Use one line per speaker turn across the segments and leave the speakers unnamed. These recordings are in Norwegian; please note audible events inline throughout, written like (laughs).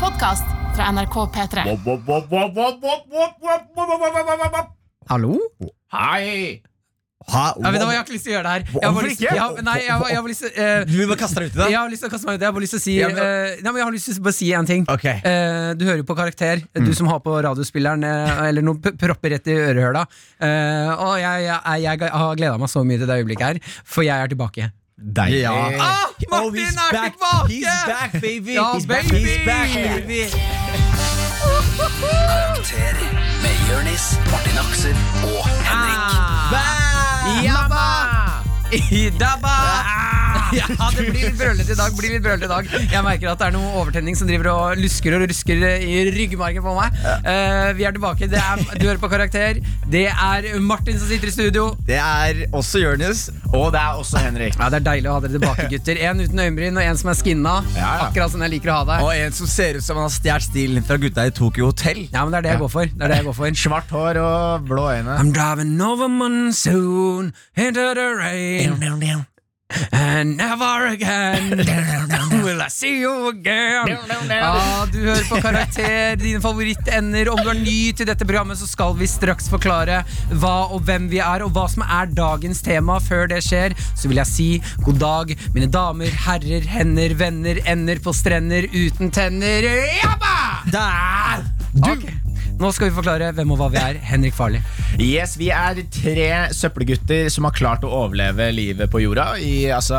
podkast fra NRK P3.
Wop, wop, wop, wop, wop, wop, wop, wop, wop, wop, wop, wop, wop, wop.
Hallo?
Hei!
Ha,
Ja, men nå, jeg har ikke lyst til å gjøre det her. Jeg har bare
Hvorfor
lyst,
ikke?
ja, men nei, jeg, har- jeg har lyst til eh,
Du må kaste deg uti det.
Jeg har lyst til å kaste meg ut. Jeg har bare lyst til å si
Ja, men-
eh, Nei, men jeg har lyst til å bare si en ting.
Ok.
Eh, du hører jo på karakter,
Mm.
du som har på radiospilleren eh, eller noen p- propper rett i ørehøla. Eh, og jeg, jeg, jeg, jeg har gleda meg så mye til det øyeblikket her, for jeg er tilbake.
Deilig.
Ja.
Ah,
Oh,
Martin
he's
er
back.
tilbake!
He's back, baby!
Ja,
he's back,
baby!
he's back.
Karakter med Jørnis, Martin Aksel og Henrik.
Ah.
Ah.
Back!
Jabba! Dabba! Ja, det blir litt brølete i dag. blir litt brølete i dag Jeg merker at det er noe overtenning som driver og lusker og rusker i ryggmargen på meg. Eh, vi er tilbake. Det er, du hører på Karakter. Det er Martin som sitter i studio.
Det er også Jonis.
Og det er også Henrik.
Ja, Det er deilig å ha dere tilbake, gutter. En uten øyenbryn og en som er skinna.
Ja, ja.
Akkurat som jeg liker å ha deg.
Og en som ser ut som han har stjålet stilen fra gutta i Tokyo Hotel.
Ja, men Det er det jeg går for. Det er det jeg går for.
(laughs)
Svart hår og blå øyne.
I'm driving over monsoon into the rain. And never again will I see you again. Ja, du hører på Karakter, dine favorittender. Om du er ny til dette programmet, så skal vi straks forklare hva og hvem vi er, og hva som er dagens tema. Før det skjer, så vil jeg si god dag, mine damer, herrer, hender, venner, ender på strender uten tenner. Jabba!
Der!
Ok, Nå skal vi forklare hvem og hva vi er. Henrik Farley.
Yes, Vi er tre søppelgutter som har klart å overleve livet på jorda i altså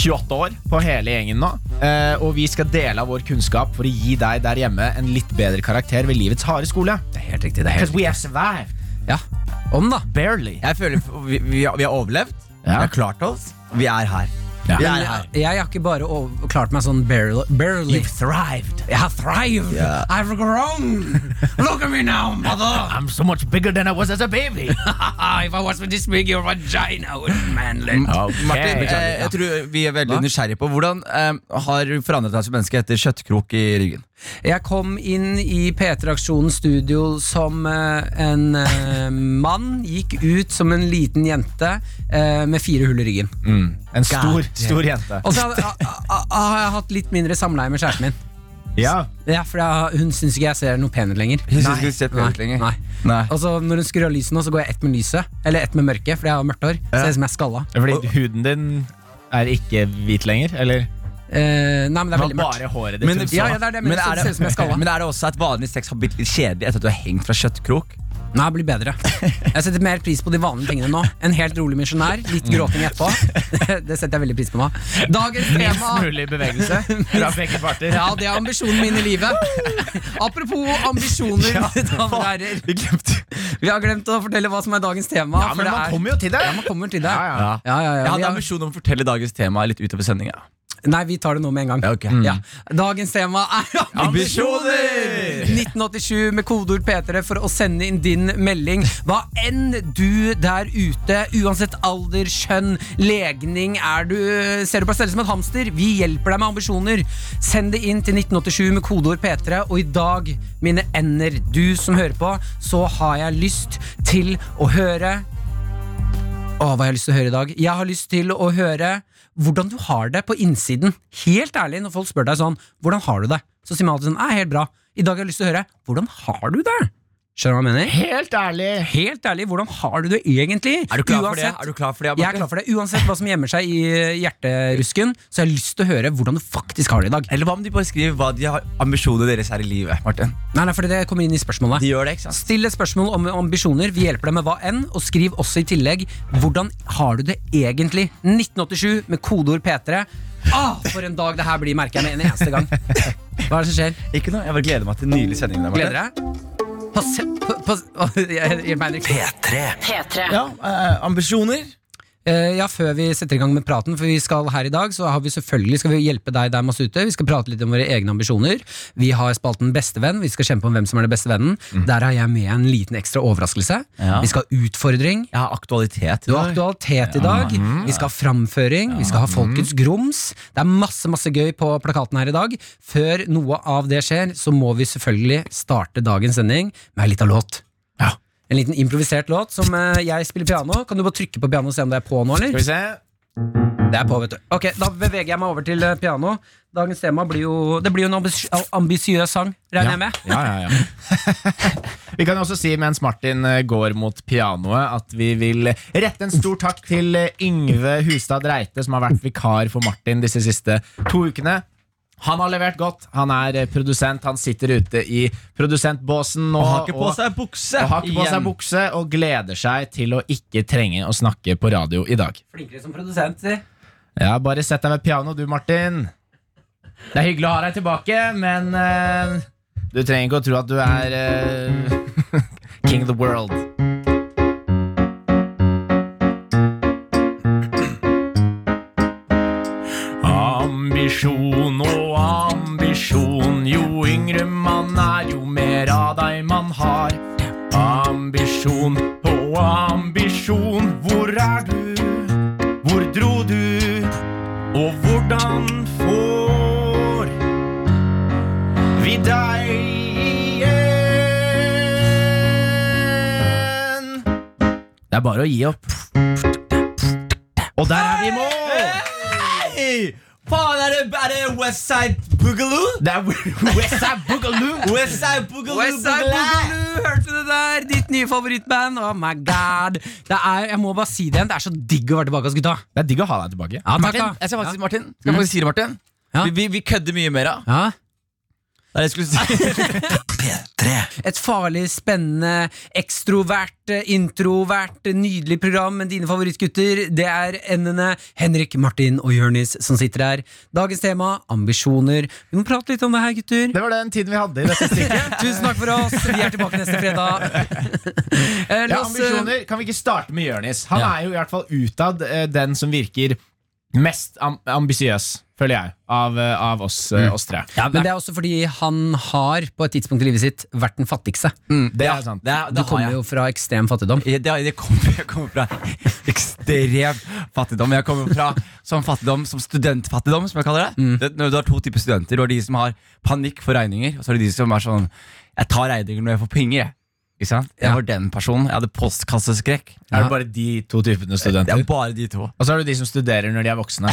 28 år på hele gjengen nå. Eh, og vi skal dele av vår kunnskap for å gi deg der hjemme en litt bedre karakter ved livets harde skole.
Det er helt riktig. det er helt
Because we have survived.
riktig. Ja, Om, da.
Barely.
Jeg føler vi, vi, har- vi har overlevd. Vi har klart oss. Vi er her. Vi er her.
Jeg, jeg har ikke bare over, klart meg sånn barely. barely.
You've thrived.
Jeg har thrived!
Ja.
I've grown! Look at me now, mother! (laughs)
I'm so much bigger than I was as a baby.
If I was with this big, your vagina would manly.
Martin,
Martin,
Mm, eh, jeg tror vi er veldig nysgjerrige på hvordan eh, har du forandret deg som menneske etter kjøttkrok i ryggen?
Jeg kom inn i P3-aksjonens studio som eh, en eh, (laughs) mann. Gikk ut som en liten jente eh, med fire hull i ryggen.
En stor,
God.
stor jente.
Og så har har jeg hatt litt mindre samleie med kjæresten min.
Ja.
Ja, for jeg, Hun syns ikke jeg ser noe penere lenger.
Hun synes ikke du ser
nei,
pent lenger.
nei.
Nei.
Og så Når hun skrur av lyset nå, så går jeg ett med lyset. Eller ett med mørket, fordi jeg har mørkt hår. Så jeg er som jeg er skalla.
Fordi huden din er ikke hvit lenger? Eller?
Eh, nei, men det er veldig mørkt.
(laughs) bare håret
Men,
ditt. som-
Ja, ja, det er det, men
men,
det ser- ser ut som jeg er skalla.
(laughs) men er det også at vanlig sex har blitt litt kjedelig etter at du har hengt fra kjøttkrok?
Nei, det blir bedre. Jeg setter mer pris på de vanlige tingene nå. En helt rolig misjonær, litt gråting etterpå. (laughs) Det setter jeg veldig pris på nå. Dagens tema
Mulig (laughs) bevegelse fra begge parter.
Ja, det er ambisjonen min i
(laughs)
livet. Apropos ambisjoner, (laughs) damer og herrer.
Vi glemte
Vi har glemt å fortelle hva som er dagens tema.
Ja,
for
men
det
man
er-
kommer jo til det.
Ja, man kommer til det.
Ja, ja.
ja.
Ja, ja, ja.
Jeg
Vi
hadde
har-
ambisjon om å fortelle dagens tema litt utover sendinga.
Nei, vi tar det nå med en gang.
Ja, ok. Mm.
Ja. Dagens tema er
Ambisjoner!
1987 med kodeord P3 for å sende inn din melding. Hva enn du der ute, uansett alder, kjønn, legning, er du, ser du på deg selv som et hamster, vi hjelper deg med ambisjoner. Send det inn til 1987 med kodeord P3, og i dag, mine ender, du som hører på, så har jeg lyst til å høre Åh, hva har jeg lyst til å høre i dag? Jeg har lyst til å høre hvordan du har det på innsiden. Helt ærlig, når folk spør deg sånn, hvordan har du det? Så sier man alltid sånn, nei, helt bra. I dag har jeg lyst til å høre, hvordan har du det? Skjønner du hva jeg mener?
Helt ærlig.
Helt ærlig, hvordan har du det egentlig?
Er du klar
Uansett-
for det? Er du klar for det
Jeg er klar for det. Uansett hva som gjemmer seg i hjerterusken, så har jeg lyst til å høre hvordan du faktisk har det i dag.
Eller hva om de bare skriver hva de har ambisjonene deres er i livet? Martin
Nei, nei, fordi det kommer inn i spørsmålet.
De gjør det, ikke sant?
Still et spørsmål om ambisjoner. Vi hjelper deg med hva enn. Og skriv også i tillegg hvordan har du det egentlig? 1987 med kodeord P3. Ah, for en dag det her blir, merker jeg med en eneste gang. Hva er det som skjer?
Ikke noe, Jeg bare gleder meg til den nylige sendingen. der, Martin.
Gleder deg? Pass, pass, Å, jeg, jeg mener ikke
P3.
P3.
Ja, eh, Ambisjoner.
Eh, Ja, Før vi setter i gang med praten, for vi skal her i dag, så har vi selvfølgelig skal vi hjelpe deg der masse ute. Vi skal prate litt om våre egne ambisjoner. Vi har spalten Bestevenn. Vi skal kjempe om hvem som er den beste vennen. Der har jeg med en liten ekstra overraskelse.
Ja.
Vi skal ha utfordring.
Jeg har aktualitet. i
Du
dag.
har aktualitet i dag. Vi skal ha framføring. Vi skal ha Folkets
Mm.
grums. Det er masse masse gøy på plakaten her i dag. Før noe av det skjer, så må vi selvfølgelig starte dagens sending med ei lita låt.
Ja.
En liten improvisert låt som eh, jeg spiller piano. Kan du bare trykke på piano og se om det er på nå,
Skal
eller?
vi se.
Det er på, vet du. Ok, Da beveger jeg meg over til eh, piano. Dagens tema blir jo Det blir jo en ambis ambisiøs sang, regner jeg med.
Ja, ja, ja. vi kan også si mens Martin eh, går mot pianoet, at vi vil rette en stor takk til eh, Yngve Hustad Reite, som har vært vikar for Martin disse siste to ukene. Han har levert godt. Han er eh, produsent. Han sitter ute i produsentbåsen nå.
Og har ikke på
og-
seg bukse!
og har ikke på seg
igjen.
bukse og gleder seg til å ikke trenge å snakke på radio i dag.
Flinkere som produsent, si.
Ja, bare sett deg ved piano du, Martin. Det er hyggelig å ha deg tilbake, men eh, du trenger ikke å tro at du er eh, (laughs) king of the world. Ambisjon og ambisjon, jo yngre man er, jo mer av deg man har. Ambisjon og ambisjon, hvor er du? Hvor dro du, og hvordan får vi deg igjen? Det er bare å gi opp. Og der er vi i mål!
Hei! Faen, er det, er det Westside Boogaloo?
Det er Westside Boogaloo.
Westside Boogaloo
Westside Boogaloo, hørte du det der? Ditt nye favorittband. Oh my god. Det er, jeg må bare si det igjen. Det er så digg å være tilbake hos gutta.
Det er digg å ha deg tilbake.
Ja, takk,
Martin,
da.
jeg skal faktisk, Martin, skal jeg faktisk si det, Martin?
Ja.
Vi, vi, vi kødder mye mer av.
ja.
Det er det
(laughs)
jeg skulle si.
P3.
Et farlig, spennende, ekstrovert, introvert, nydelig program med dine favorittgutter. Det er endene Henrik, Martin og Jørnis som sitter her. Dagens tema ambisjoner. Vi må prate litt om det her, gutter.
Det var den tiden vi hadde i dette (laughs) stykket.
Tusen takk for oss. Vi er tilbake neste fredag. Eh,
Ja,
la oss, eh,
ambisjoner. Kan vi ikke starte med Jonis? Han
Ja.
er jo i hvert fall utad eh, den som virker mest am ambisiøs, føler jeg, av, eh, av oss,
Mm.
eh, oss tre.
Men
(laughs)
det er også fordi han har på et tidspunkt i livet sitt vært den fattigste.
Det er sant.
Det, er-
Du
det har
kommer
jeg.
jo fra ekstrem fattigdom.
Jeg- Det, det kommer, jeg kommer fra (laughs) ekstrem fattigdom. Jeg kommer fra
(laughs)
sånn fattigdom som studentfattigdom, som jeg kaller det.
Mm.
det. Når du har to typer studenter. Du har de som har panikk for regninger, og så er det de som er sånn Jeg tar regninger når jeg får penger, jeg. Ikke sant? Jeg
Ja.
var den personen. Jeg hadde postkasseskrekk.
Er det bare de to typene
Det
studenter?
er bare de to.
Og så er det de som studerer når de er
(laughs)
voksne.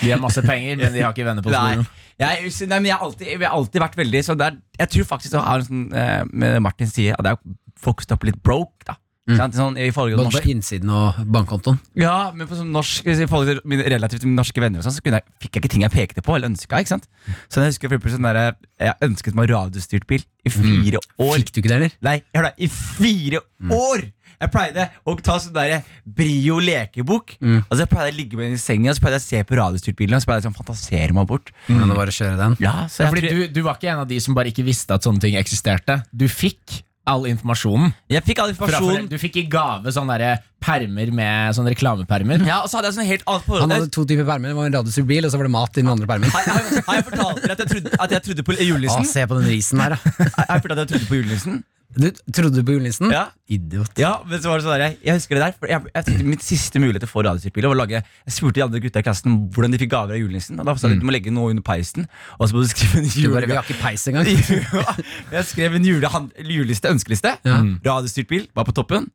De har masse penger, men de har ikke venner på
Nei,
skolen.
jeg, nei, men jeg, har alltid, jeg har alltid vært veldig sånn der Jeg tror faktisk det er en sånn eh, Med det Martin sier at jeg har vokst opp litt broke, da.
Mm.
Ikke sant? Sånn, i forhold til
Både
norsk
på innsiden og bankkontoen.
Ja, men på sånn norsk I forhold til mine relativt mine norske venner og sånn, Så kunne jeg, fikk jeg ikke ting jeg pekte på eller ønska. Ikke sant? Så jeg husker for eksempel sånn der, Jeg ønsket meg radiostyrt bil i
Mm.
fire år.
Fikk du ikke det, eller?
Nei, hør da, i fire
Mm.
år! Jeg pleide å ta sånn der Brio lekebok.
Mm.
Og så pleide jeg å ligge med den i senga Og så pleide jeg å se på radiostyrt bilen og så pleide jeg sånn fantasere meg bort.
Hvordan det var å kjøre den?
Ja,
Mm. Ja,
så jeg,
fordi
tror,
du, du var ikke en av de som bare ikke visste at sånne ting eksisterte. Du fikk all informasjonen.
jeg fikk all
Fra
informasjon.
foreldre. Du fikk i gave sånne der permer med sånne
(laughs)
reklamepermer.
Ja, og så hadde jeg sånn helt annet forhold
Han hadde to typer permer. Det var en radiostyrd bil, og så var det mat i den andre permen.
Har jeg- har jeg fortalt dere at jeg trodde, at jeg trodde på
Å,
julenissen?
se Mm. på den risen her, da.
Har jeg fortalt at jeg trodde på julenissen?
Du trodde du på julenissen?
Ja
Idiot.
Ja, men så var det sånn der, jeg husker det der for jeg, jeg, tenkte Mitt siste mulighet til å få radiostyrt var å lage Jeg spurte de andre gutta i klassen hvordan de fikk gaver av julenissen. Og da sa de du må legge noe under peisen, og så må du skrive en
Mm. Du bare, vi har
julegave.
ikke peis engang.
Ja, (laughs) jeg skrev en julehand- juleliste, ønskeliste.
Mm.
Radiostyrt bil var på toppen.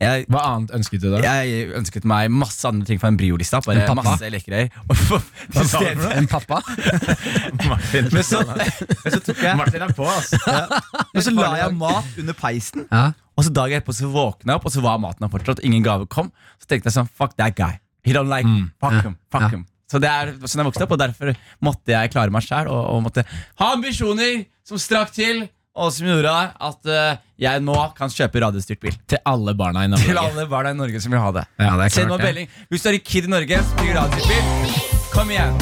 Jeg,
Hva annet ønsket du da?
jeg ønsket meg masse andre ting fra en Brio-lista. Bare
pappa?
masse (laughs) lekkerøy. Og for- til
sa du for
stedet-
En pappa?
Martin,
Men
(laughs)
så, men så tok jeg
Martin er på, altså.
Men så la jeg mat under peisen.
Ja.
Og så dagen etterpå så våkna jeg opp, og så var maten her fortsatt. Ingen gave kom. Så tenkte jeg sånn, fuck that guy. He don't like me. Fuck him. Fuck
Ja.
him. Så det er sånn jeg vokste opp, og derfor måtte jeg klare meg sjæl. Og, og måtte ha ambisjoner som strakk til, og som gjorde at eh, jeg nå kan kjøpe radiostyrt bil.
Til alle barna i
Til
Norge.
alle barna i Norge som vil ha det.
Ja, det er
Send
klart
meg
det.
melding. Hvis du er en kid i Norge som bygger radiostyrt bil, kom igjen.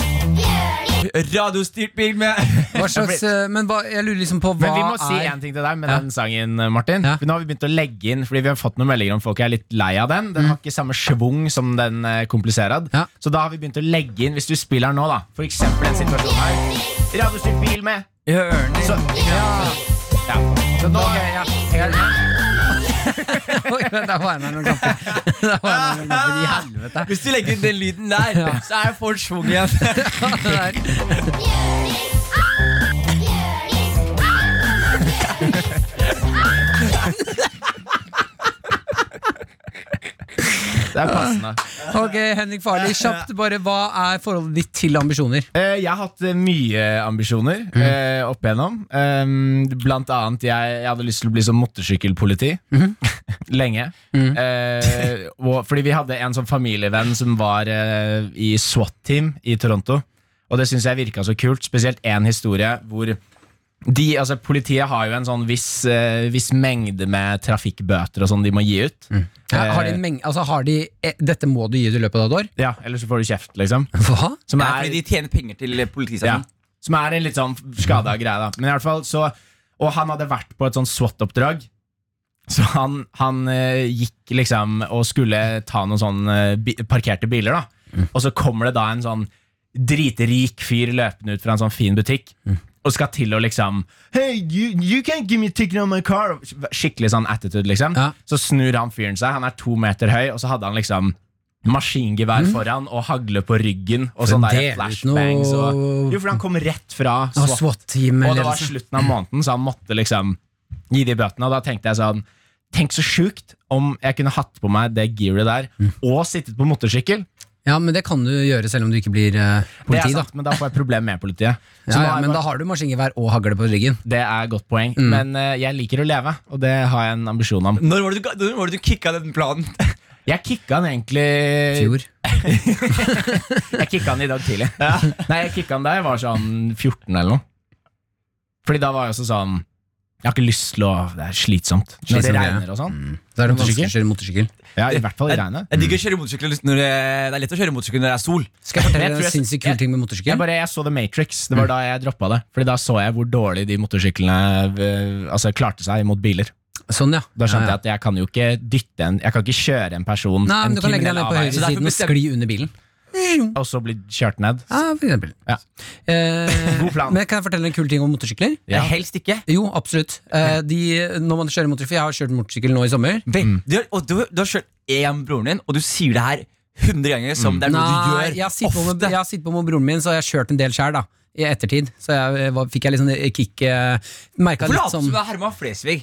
Radiostyrt bil
(laughs)
med
Hva slags, eh, men hva, jeg lurer liksom på hva
Men vi må si
er
en ting til deg med
Ja.
den sangen, Martin.
Ja.
For Nå har vi begynt å legge inn Fordi vi har fått noen meldinger om folk er litt lei av den. Den har ikke samme schwung som den eh, kompliserad.
Ja.
Så da har vi begynt å legge inn, hvis du spiller den nå, da for eksempel en situasjon her Radiostyrt bil med
Jørnis.
Så, ja. ja. Så nå,
(laughs) Oi, Der var jeg med noen kamper. (laughs) Der var jeg med noen kamper i helvete.
Hvis du legger den lyden der, så er jeg for schwung igjen.
Det der.
Det er passende.
Ok, Henrik Farley, kjapt bare, hva er forholdet ditt til ambisjoner?
Eh, Jeg har hatt eh, mye ambisjoner
Mm.
eh, opp igjennom. Um, blant annet jeg, jeg hadde lyst til å bli som motorsykkelpoliti.
Mm-hmm.
(laughs) Lenge.
Mm.
Eh, og, fordi vi hadde en sånn familievenn som var eh, i SWAT-team i Toronto. Og det syns jeg virka så kult. Spesielt én historie hvor de, altså Politiet har jo en sånn viss, eh, viss mengde med trafikkbøter og sånn de må gi ut.
Mm.
Ja, Har de en meng- altså har de, eh, dette må du gi ut i løpet av et år?
Ja, Ellers så får du kjeft, liksom.
Hva?
Som
Det er fordi de tjener penger til
ja.
politistasjonen.
Som er en litt sånn skada greie, da. Men i hvert fall så Og han hadde vært på et sånn SWAT-oppdrag. Så han, han eh, gikk liksom og skulle ta noen sånn eh, bi parkerte biler, da. Og så kommer det da en sånn dritrik fyr løpende ut fra en sånn fin butikk. Og skal til å liksom Hey, you, you can't give me a ticket on my car Skikkelig sånn attitude, liksom.
Ja.
Så snur han fyren seg. Han er to meter høy, og så hadde han liksom maskingevær foran og hagle på ryggen. Og
Mhm. For
sånn
det
der
er ikke noe-
flashbangs. Og, jo, for han kom rett fra
Ah,
SWAT.
SWAT-team
og det var
ledelse.
slutten av måneden, så han måtte liksom gi de bøtene. Og da tenkte jeg sånn Tenk så sjukt om jeg kunne hatt på meg det gearet der
Mm.
og sittet på motorsykkel.
Ja, men det kan du gjøre selv om du ikke blir eh,
Det er
politi, da.
sant, men da får jeg problem med politiet. Så nå
Ja, ja,
har jeg
men Mm.
bare-
da har du maskingevær og hagle på ryggen.
Det er et godt poeng. Men eh, jeg liker å leve, og det har jeg en ambisjon om.
Når var det du, ga- når var det du kicka den planen?
Jeg kicka han egentlig
Fjor.
Jeg kicka han i dag tidlig. Nei, jeg kicka han da jeg var sånn 14 eller noe. Fordi da var jeg også sånn Jeg har ikke lyst til å Det er slitsomt når det
Slitsomt, ja.
regner og sånn.
Da er
Motorsykkel?
det vanskelig å kjøre motorsykkel.
Ja, I hvert fall i regnet.
Jeg digger å kjøre motorsykkel når det, det er lett å kjøre motorsykkel når det er sol.
Skal
Jeg
jeg
tror
fortelle deg en
jeg-
sinnssykt kul ting med motorsykkel?
Jeg, bare, jeg så The Matrix. Det var da jeg droppa det. Fordi da så jeg hvor dårlig de motorsyklene eh, altså, klarte seg mot biler.
Sånn, ja.
Da skjønte
ja, ja.
jeg at jeg kan jo ikke dytte en Jeg kan ikke kjøre en person
Nei,
en
men du kan legge deg
kriminell
ned på
avveie, så derfor
høyresiden og
bestem-
skli under bilen.
Og så bli kjørt ned.
Ja, for eksempel.
Ja.
Eh,
God plan.
Men kan jeg fortelle en kul ting om motorsykler?
Ja.
Helst ikke.
Jo, absolutt. Eh, de, når man kjører motorsykkel, jeg har kjørt motorsykkel nå i sommer.
Vel, du, har- og du, du har kjørt én broren din, og du sier det her 100 ganger som det er noe du
Nei,
gjør
jeg har sittet på med,
ofte.
jeg har sittet på med broren min, så jeg har kjørt en del sjøl, da. I ettertid. Så jeg, eh, var, fikk jeg litt sånn eh, kick eh, Merka
Hvorfor
litt
later du
sånn
som du er Herman Flesvig?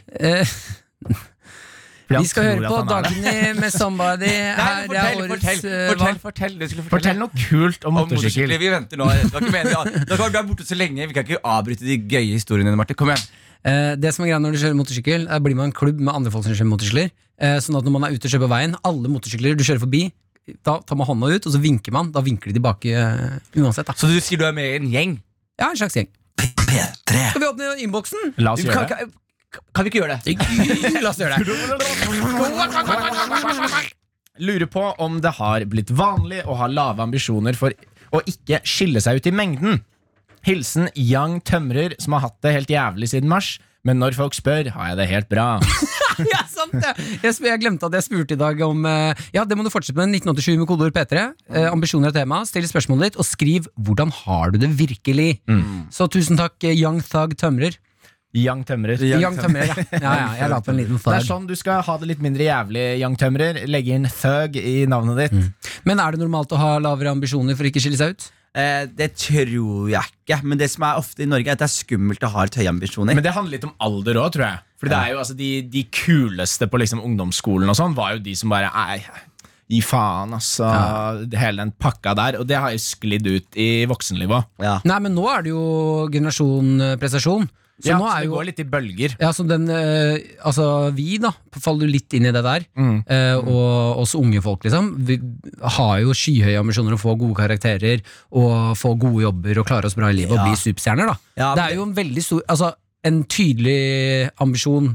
Fordi han
Vi skal
tror
høre
at
på
han er det.
Dagny med 'Somebody'.
(laughs) Nei,
Her
men
er
fortell,
årets
fortell,
eh,
fortell,
hva-
fortell, du skulle fortelle.
Fortell noe kult om
Om
motorsykkel.
motorsykkel. Vi venter nå. Det var ikke meningen. Da kan du være borte så lenge. Vi kan ikke avbryte de gøye historiene dine, Martin. Kom igjen.
Eh, Det som er greia når du kjører motorsykkel, er blir man en klubb med andre folk som kjører motorsykler. Eh, Sånn at når man er ute og kjører på veien, alle motorsykler du kjører forbi, da tar man hånda ut, og så vinker man. Da vinker de tilbake eh, uansett, da.
Så du sier du er med i en gjeng?
Ja, en slags gjeng. Skal
P3
vi åpne innboksen?
La
Du
oss gjøre
kan,
det.
kan, kan vi ikke gjøre (laughs) det?
(laughs) La oss gjøre det.
Lurer på om det har blitt vanlig å ha lave ambisjoner for å ikke skille seg ut i mengden. Hilsen Young Tømrer, som har hatt det helt jævlig siden mars. Men når folk spør, har jeg det helt bra.
(laughs) Ja, sant det! Jeg, sp- jeg glemte at jeg spurte i dag om eh, Ja, det må du fortsette med. 1987 med kodeord P3. Eh,
Mm.
ambisjoner er tema. Still spørsmålet ditt, og skriv 'Hvordan har du det virkelig?'
Mm.
Så tusen takk, eh, Young Thug Tømrer.
Young Tømrer.
Young
Young Tømrer, ja. ja, ja jeg la på en liten
(laughs) Det er
thug.
sånn du skal ha det litt mindre jævlig, Young Tømrer. Legge inn thug i navnet ditt.
Men er det normalt å ha lavere ambisjoner for å ikke skille seg ut?
Eh, det tror jeg ikke. Men det som er ofte i Norge, er at det er skummelt å ha litt høye ambisjoner.
Men det handler litt om alder òg, tror jeg. Fordi det er jo altså De, de kuleste på liksom ungdomsskolen og sånn var jo de som bare Nei, gi faen, altså. Hele den pakka der. Og det har jo sklidd ut i voksenlivet òg.
ja.
Nei, men nå er det jo generasjon eh, prestasjon. Så
Ja, så
nå er
det
jo
går litt i bølger.
ja, så den, eh, altså Vi da faller jo litt inn i det der.
Mm.
eh, og oss unge folk, liksom. Vi har jo skyhøye ambisjoner om å få gode karakterer og få gode jobber og klare oss bra i livet og
Ja.
bli superstjerner. da
Ja,
Det
men-
er jo en veldig stor Altså, en tydelig ambisjon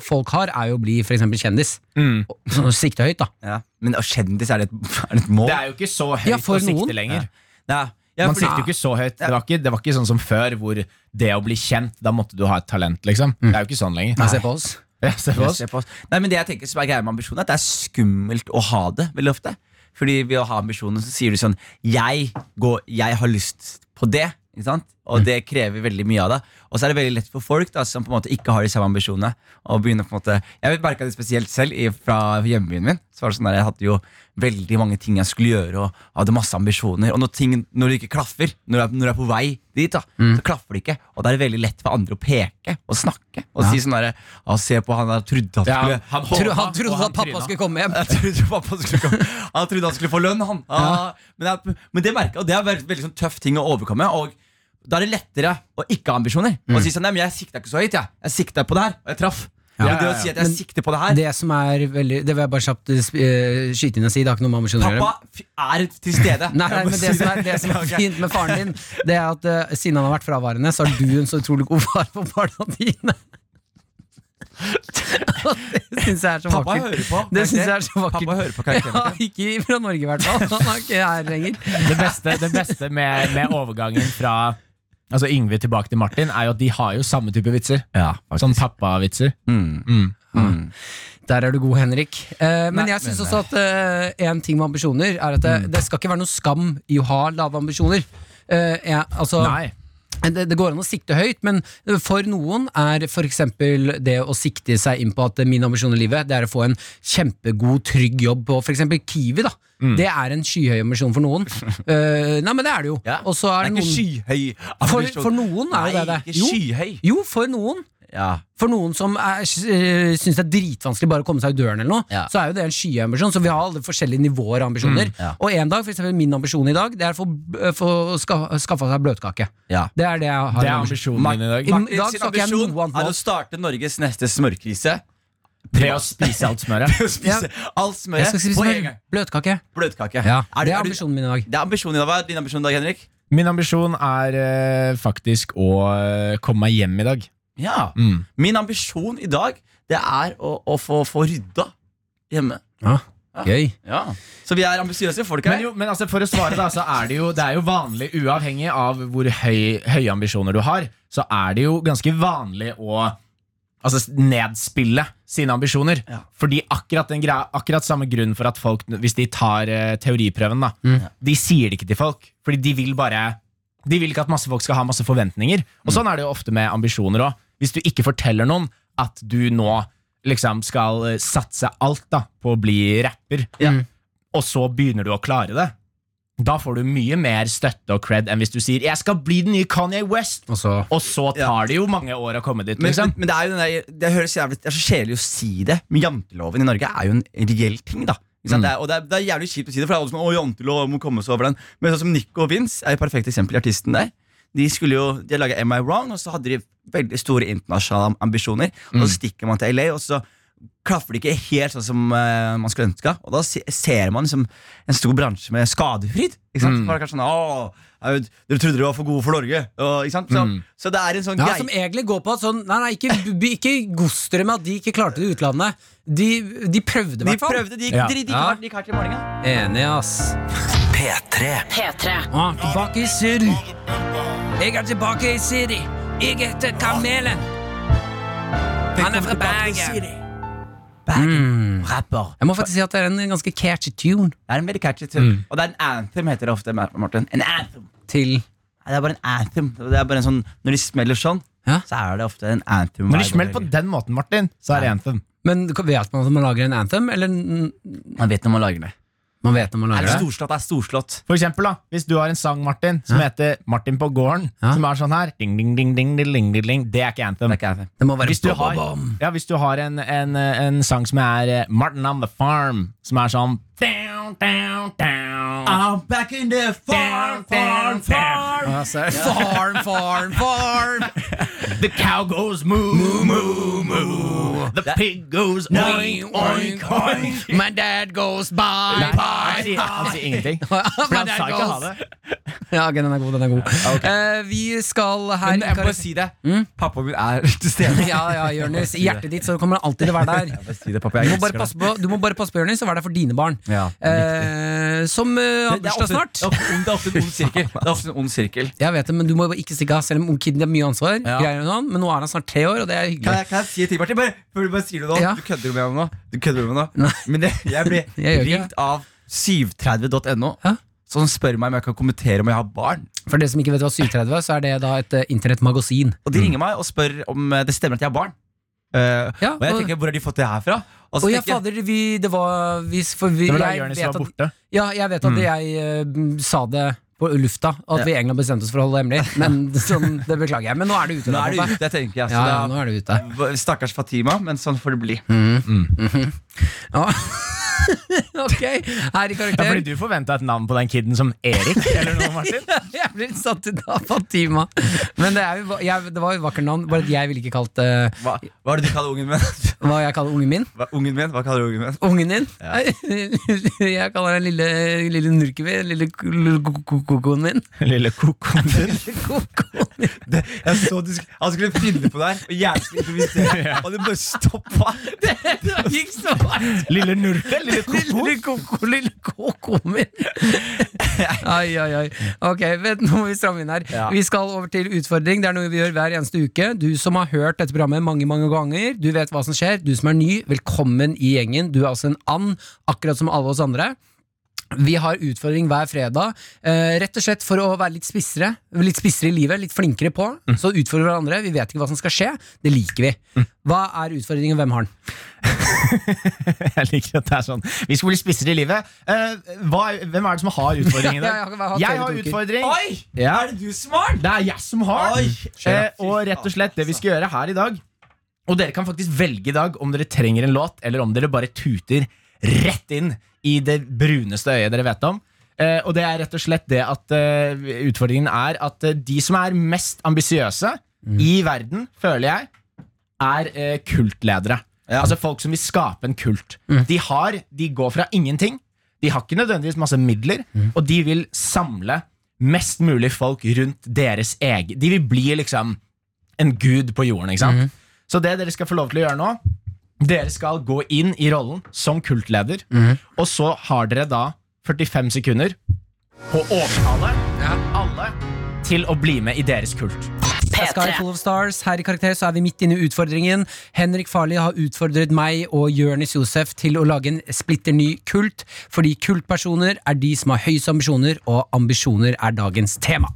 folk har, er jo å bli for eksempel kjendis.
Mm.
Sånn å sikte høyt, da.
Ja. Men å, kjendis, er det, et, er det et mål?
Det er jo ikke så høyt
Ja, for
å sikte
noen.
lenger.
ja. Ja,
Man
fordi-
sikter jo ikke så høyt. Det var ikke, det var ikke sånn som før, hvor det å bli kjent, da måtte du ha et talent, liksom. Det er jo ikke sånn lenger.
Se på oss.
Ja, se på
Jeg
oss.
ser på oss. Nei, men det jeg tenker som er greia med ambisjoner, er at det er skummelt å ha det veldig ofte. Fordi ved å ha ambisjoner så sier du sånn Jeg, går, jeg har lyst på det. Ikke sant?
Mm.
Og det krever veldig mye av deg. Og så er det veldig lett for folk da, som på en måte ikke har de samme ambisjonene. å begynne på en måte Jeg merka det spesielt selv i- fra hjembyen min. Så var det sånn der, Jeg hadde jo veldig mange ting jeg skulle gjøre, og hadde masse ambisjoner. Og når, ting, når det ikke klaffer, når du er, når du er på vei dit, da, så klaffer det ikke. Og da er det veldig lett for andre å peke og snakke og si sånn derre «Å, Se på han der trodde han skulle
han håpa,
Tro, han
og
trodde at pappa
tryna.
skulle komme hjem.
jeg trodde pappa skulle komme Han trodde han skulle få lønn, han. Ah, men, jeg, men det merket, og det er veldig, veldig sånn tøff ting å overkomme. Og da er det lettere å ikke ha ambisjoner. Å si sånn, nei, men jeg sikta ikke så høyt, jeg. Jeg sikta på det her, og jeg traff. Men det å si at jeg
Men
sikter på det her
Det som er veldig Det vil jeg bare kjapt eh, sp- eh, skyte inn og si. Det har ikke noe med ambisjoner å gjøre.
Pappa f- er til (laughs) stede.
Nei, nei,
Jeg må
men
si
det som er, det som er
(laughs) Ok.
fint med faren din, Det er at eh, siden han har vært fraværende, så har du en så utrolig god far på barna dine. (laughs) det syns jeg er så
Pappa
vakkert.
hører på.
(laughs) Det syns jeg er så vakkert.
Pappa hører på
Ja,
karakteren.
ikke fra Norge, i hvert fall. Han er ikke her lenger.
Det beste, det beste med, med overgangen fra Altså Yngve tilbake til Martin er jo at de har jo samme type vitser.
Ja,
Sånn pappavitser.
Der er du god, Henrik. Eh, men jeg syns
men-
også at eh, en ting med ambisjoner er at det, det skal ikke være noe skam i å ha lave ambisjoner. Eh, jeg, altså,
Nei.
det, det går an å sikte høyt, men for noen er f.eks. det å sikte seg inn på at min ambisjon i livet Det er å få en kjempegod, trygg jobb på f.eks. Kiwi. da
Mm.
Det er en skyhøy ambisjon for
(laughs)
noen. Eh, nei, men det er det jo.
Ja.
Og så er
Det
det
er ikke
noen
skyhøy
for,
ambisjon.
for noen er jo det
Nei,
det.
ikke
Jo,
skyhøy.
jo, for noen.
Ja.
For noen som er- øh, syns det er dritvanskelig bare å komme seg ut døren, eller noe,
Ja. Mm,
så er jo det en skyambisjon. Så vi har alle forskjellige nivåer av ambisjoner.
ja.
Og en dag, for eksempel min ambisjon i dag, det er å få, øh, få ska, skaffa seg bløtkake.
Ja.
Det er det jeg har.
Det er
en ambisjon.
ambisjonen min i dag.
I-
Martin
dag
sin
snakker jeg
ambisjon
noe annet
er
nå.
å starte Norges neste smørkrise. (laughs)
Det å spise alt smøret. (laughs)
Å spise alt
Jeg
smøret
skal spise
på
mer
en gang.
bløtkake.
Bløtkake.
Ja, det er
Er du- er du-
ambisjonen min i dag.
Det er ambisjonen din. Hva er din ambisjon i dag, Henrik?
Min ambisjon er eh, faktisk å eh, komme meg hjem i dag.
Ja,
Mm.
Min ambisjon i dag Det er å, å få, få rydda hjemme.
Gøy.
Ja. Så vi er ambisiøse folk her.
Men, jo, men altså for å svare da, så er det jo Det er jo vanlig, uavhengig av hvor høy, høye ambisjoner du har, så er det jo ganske vanlig å altså, s- nedspille sine ambisjoner.
Ja.
Fordi akkurat, den greia, akkurat samme grunn for at folk, hvis de tar eh, teoriprøven, da, de sier det ikke til folk. Fordi de vil bare De vil ikke at masse folk skal ha masse forventninger. Og sånn er det jo ofte med ambisjoner òg. Hvis du ikke forteller noen at du nå liksom skal eh, satse alt da på å bli rapper, og så begynner du å klare det, da får du mye mer støtte og cred enn hvis du sier 'jeg skal bli den nye Kanye West',
Og så
og så tar det jo mange år å komme dit.
Men,
liksom.
men det er jo den der, det, høres jævlig, det er så kjedelig å si det, men janteloven i Norge er jo en reell ting. da Ikke
Mm.
sant? det er, Og det er, det er jævlig kjipt å si det, for det er alle som «Å, jantelov må komme seg over den. Men sånn som Nico og Vince er jo perfekt eksempel, artisten der. De skulle jo, de laga Am I Wrong, og så hadde de veldig store internasjonale ambisjoner. Og
Mm.
så stikker man til LA, og så klaffer det ikke helt sånn som eh, man skulle ønska. Og da se, ser man liksom en stor bransje med skadefryd.
Mm.
Ikke sant? Folk er kanskje sånn, Åh, jeg vet, Dere trodde dere var for gode for Norge. Og, ikke sant? Så, så det er en sånn
Mm. ja,
greie
som egentlig går på at sånn Nei, nei, ikke, b- ikke gods dere med at de ikke klarte det i utlandet. De, de prøvde, i
De
hvert fall.
prøvde, de gikk
Ja.
de- de gikk
Ja.
hardt- de gikk hardt i morgenen.
Enig, ass.
P3
P3.
Ah, tilbake i Syden. Jeg er tilbake i Siri. Jeg heter Kamelen. Han er fra Bergen.
Bergen, Mm, rapper.
Jeg må faktisk si at det er en ganske catchy tune
Det er en veldig catchy tune. Og det er en anthem, heter det ofte. Martin. En anthem.
til
Nei, Det er bare en anthem. Det er bare en sånn, når de smeller sånn,
Ja.
så er det ofte en anthem.
Når de
vibe
smeller på
over.
den måten, Martin, så er det anthem.
Men vet man at man lager en anthem, eller n-
Man vet når man lager det.
man vet når man
Er
lager
det
det?
storslått, er storslått.
For eksempel, da, hvis du har en sang, Martin, som heter 'Martin på gården',
Ja.
som er sånn her ding, ding, ding, ding, ding, ding, ding, ding, Det er ikke anthem.
Det er ikke anthem.
Det må være
Hvis du har, ja, hvis du har en, en, en sang som er eh, 'Martin on the Farm', som er sånn down, down, down,
I'm back in the farm, farm, farm.
Farm, farm,
(laughs)
farm!
The cow goes moo, moo, moo, moo. The pig goes oink, oink, oink.
My dad goes bye,
Han
(laughs)
sier, han sier (laughs) ingenting. For han sa ikke ha det.
Ja, ok, den er god, den er god. Eh, vi skal her
Men jeg må bare si det. Pappa min er (laughs) til stede.
(laughs) Ja, ja, Jonis. I hjertet ditt så kommer han alltid til å være der.
Jeg må si det, pappa.
Du
Jeg
må bare
elsker
passe på, du må bare passe på Jonis, og være der for dine barn.
Ja, det
eh, som eh, har
Det er
bursdag
ofte-
snart.
Det er ofte- det er ofte en ond sirkel. Det er ofte en ond sirkel.
Jeg vet det, men Du må ikke stikke av, selv om ungkiden har mye ansvar.
Ja.
Greier hun han, Men nå er han snart tre år, og det er
Kan
hyggelig.
jeg, kan jeg si en ting, Martin? Bare, før du bare sier det nå.
Ja.
Du kødder med meg
(laughs)
nå. Du kødder med meg nå. Men det, jeg ble
Jeg gjør ikke
ringt av 730.no.
Hæ?
Sånn spør meg om jeg kan kommentere om jeg har barn.
For dere som ikke vet hva 730 er, så er det da et eh, internettmagasin.
Og de ringer meg og spør om eh, det stemmer at jeg har barn. Eh,
Ja,
og jeg
og-
tenker, hvor har de fått det her fra? Og så
Og ja,
tenker jeg-
fader, vi, det var vi, for vi,
Det var da
jeg,
Jonis
vet
var
at,
borte.
ja, jeg vet
Mm.
at jeg eh, sa det på lufta, at vi egentlig bestemte oss for å holde det hemmelig.
(laughs)
Men sånn, Det beklager jeg. Men nå er det ute.
Nå
da,
er det
pappa.
ute, tenker jeg. Så
Ja, ja,
da-
nå er Mm. det ute.
Stakkars Fatima, men sånn får det bli.
Ja. (laughs) ok, her i
Ja,
karakter.
fordi du forventa et navn på den kiden som Erik eller noe, Martin?
(laughs) Jeg blir satt ut av Fatima. Men det, er jo, jeg, det var jo vakkert navn, bare at jeg ville ikke kalt det
Hva, hva er det du kaller ungen min? (laughs)
hva jeg kaller ungen min.
Hva, ungen min? Hva kaller du ungen min?
Ungen din? (laughs) jeg kaller den lille, lille nurken min. Lille k- lille ko- ko- kokoen min.
(laughs) Lille kokoen din.
Kokoen min.
Det, jeg så du, sk- han skulle finne på det her, og hjernen
(laughs)
skulle improvisere, og det bare stoppa.
(laughs) Det gikk så hardt!
Lille Nurte. Lille koko.
Lille koko, lille koko min. Ai, ai, ai. Ok, vent, nå må vi stramme inn her. Vi skal over til utfordring. Det er noe vi gjør hver eneste uke. Du som har hørt dette programmet mange mange ganger, du vet hva som skjer. Du som er ny, velkommen i gjengen. Du er altså en and, akkurat som alle oss andre. Vi har utfordring hver fredag, eh, rett og slett for å være litt spissere, litt spissere i livet, litt flinkere på. Så utfordrer vi hverandre. Vi vet ikke hva som skal skje. Det liker vi. Hva er utfordringen, hvem har den?
(laughs) Jeg liker at det er sånn. Vi skal bli spissere i livet. Eh, hva, er- hvem er det som har utfordringen i
(laughs) Ja, jeg har- jeg har
dag? Jeg
hatt flere
har
tanker.
utfordring.
Oi!
Ja.
Er det du smart?
Det er jeg som har
Oi.
den. Eh, og rett og slett det vi skal gjøre her i dag Og dere kan faktisk velge i dag om dere trenger en låt, eller om dere bare tuter rett inn i det bruneste øyet dere vet om. Eh, og det er rett og slett det at eh, utfordringen er at eh, de som er mest ambisiøse i verden, føler jeg, er eh, kultledere. Altså folk som vil skape en kult. De har, de går fra ingenting. De har ikke nødvendigvis masse midler, og de vil samle mest mulig folk rundt deres egen De vil bli liksom en gud på jorden, ikke sant? Så det dere skal få lov til å gjøre nå Dere skal gå inn i rollen som kultleder, og så har dere da 45 sekunder på å overtale alle til å bli med i deres kult.
Det er Sky Full of Stars. Her i Karakter så er vi midt inne i utfordringen. Henrik Farli har utfordret meg og Jonis Josef til å lage en splitter ny kult, fordi kultpersoner er de som har høyest ambisjoner, og ambisjoner er dagens tema.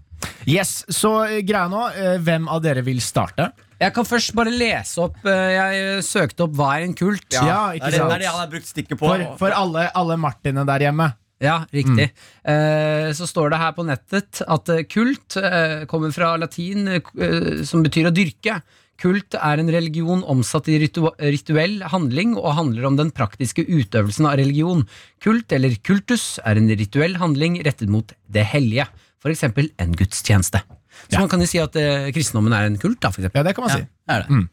Yes, Så eh, greia nå, eh, hvem av dere vil starte?
Jeg kan først bare lese opp eh, Jeg søkte opp hva er en kult.
Ja,
Det er
ikke
det, det er
sant?
det han har brukt stikket på.
For, for alle, alle Martine der hjemme.
Ja, riktig.
Mm.
Eh, så står det her på nettet at eh, kult eh, kommer fra latin, eh, k- eh, som betyr å dyrke. Kult er en religion omsatt i ritua- rituell handling og handler om den praktiske utøvelsen av religion. Kult, eller kultus, er en rituell handling rettet mot det hellige, f.eks. en gudstjeneste. Så man kan jo si at eh, kristendommen er en kult, da, for
Ja,
eksempel.
Mm. det kan man si.
er det.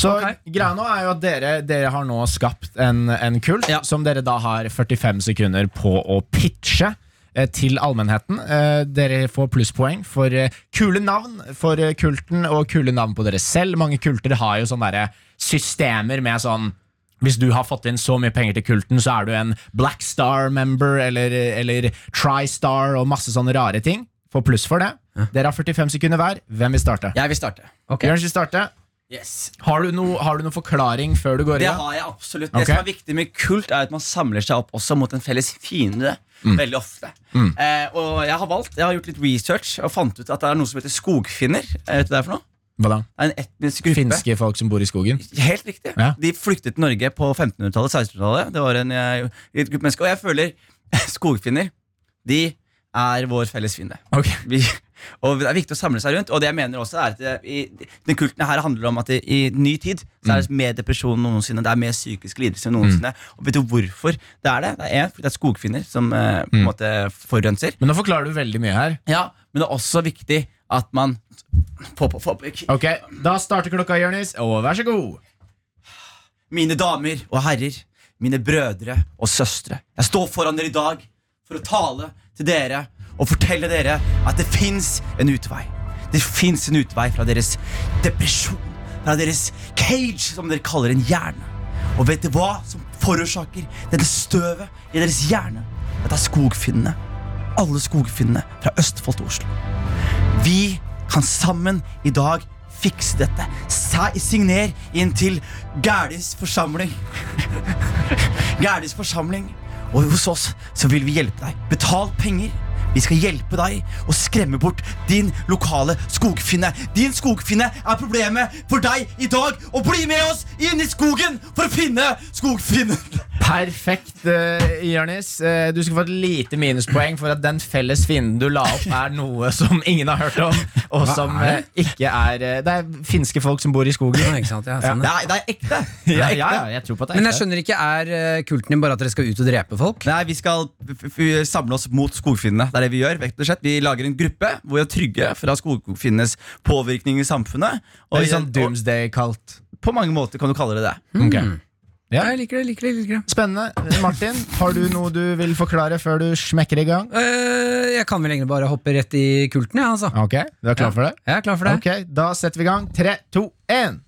Så
Ok.
greia nå er jo at dere, dere har nå skapt en, en kult som dere da har 45 sekunder på å pitche eh, til allmennheten. Eh, Dere får plusspoeng for eh, kule navn for eh, kulten og kule navn på dere selv. Mange kulter har jo sånne derre systemer med sånn hvis du har fått inn så mye penger til kulten, så er du en Black Star-member eller, eller Tri-Star og masse sånne rare ting. Få pluss for det. Dere har 45 sekunder hver. Hvem vil starte?
Jeg vil starte.
Ok.
Bjørn skal starte. Har du, noe- har du noen forklaring før du går i
Det
gang?
har jeg absolutt.
Ok.
Det som er viktig med kult, er at man samler seg opp også mot en felles fiende. Veldig ofte. Eh, og jeg har valgt, jeg har gjort litt research og fant ut at det er noe som heter skogfinner. Eh, Vet du hva det er for noe?
Hva da?
Det er en etnisk gruppe.
Finske folk som bor i skogen?
Helt riktig.
Ja.
De flyktet til Norge på 1500-tallet, 1600-tallet. Det var en, eh, en gruppe mennesker. Og jeg føler (laughs) skogfinner, de er vår felles fiende.
Ok.
Vi, og det er viktig å samle seg rundt. Og det jeg mener også er at det, i, den kulten her handler om at det, i ny tid så er det mer depresjon enn noensinne. Det er mer psykisk lidelse enn noensinne. Og vet du hvorfor det er det? Det er, en, fordi det er skogfinner som eh, på en måte forurenser.
Men nå forklarer du veldig mye her.
Ja, men det er også viktig at man Få på, få på.
Ok, Da starter klokka, Jonis, og vær så god.
Mine damer og herrer, mine brødre og søstre. Jeg står foran dere i dag for å tale til dere og fortelle dere at det fins en utvei. Det fins en utvei fra deres depresjon, fra deres cage, som dere kaller en hjerne. Og vet dere hva som forårsaker dette støvet i deres hjerne? Dette er skogfinnene. Alle skogfinnene fra Østfold til Oslo. Vi kan sammen i dag fikse dette. Se- Signer inn til Gælis forsamling. (laughs) Gælis forsamling. Og hos oss så vil vi hjelpe deg. Betal penger. Vi skal hjelpe deg å skremme bort din lokale skogfinne. Din skogfinne er problemet for deg i dag. Og bli med oss inn i skogen for å finne skogfinnen.
Perfekt, uh, Jørnis. Eh, du skal få et lite minuspoeng for at den felles fienden du la opp, er noe som ingen har hørt om. Og som eh, ikke er eh, Det er finske folk som bor i skogen.
Ja, ikke sant? Ja, sånn,
Det
ja.
er, det er ekte.
Ja, ja, ja, jeg tror på at det er
Men jeg
ekte.
skjønner ikke, er eh, kulten din bare at dere skal ut og drepe folk?
Nei, vi skal f- f- samle oss mot skogfinnene. Det er det Vi gjør, rett og slett. Vi lager en gruppe hvor vi er trygge fra skogfinnenes påvirkning i samfunnet.
Det
Og,
er litt sånn
og
doomsday-kaldt.
på mange måter kan du kalle det det.
Ja.
Jeg liker det, liker det, liker det.
Spennende. Martin, har du noe du vil forklare før du smekker i gang?
Eh, jeg kan vel egentlig bare hoppe rett i kulten, jeg, ja, altså.
Ok, Du er klar for det?
Jeg er klar for det.
Ok, Da setter vi i gang. Tre, to, én.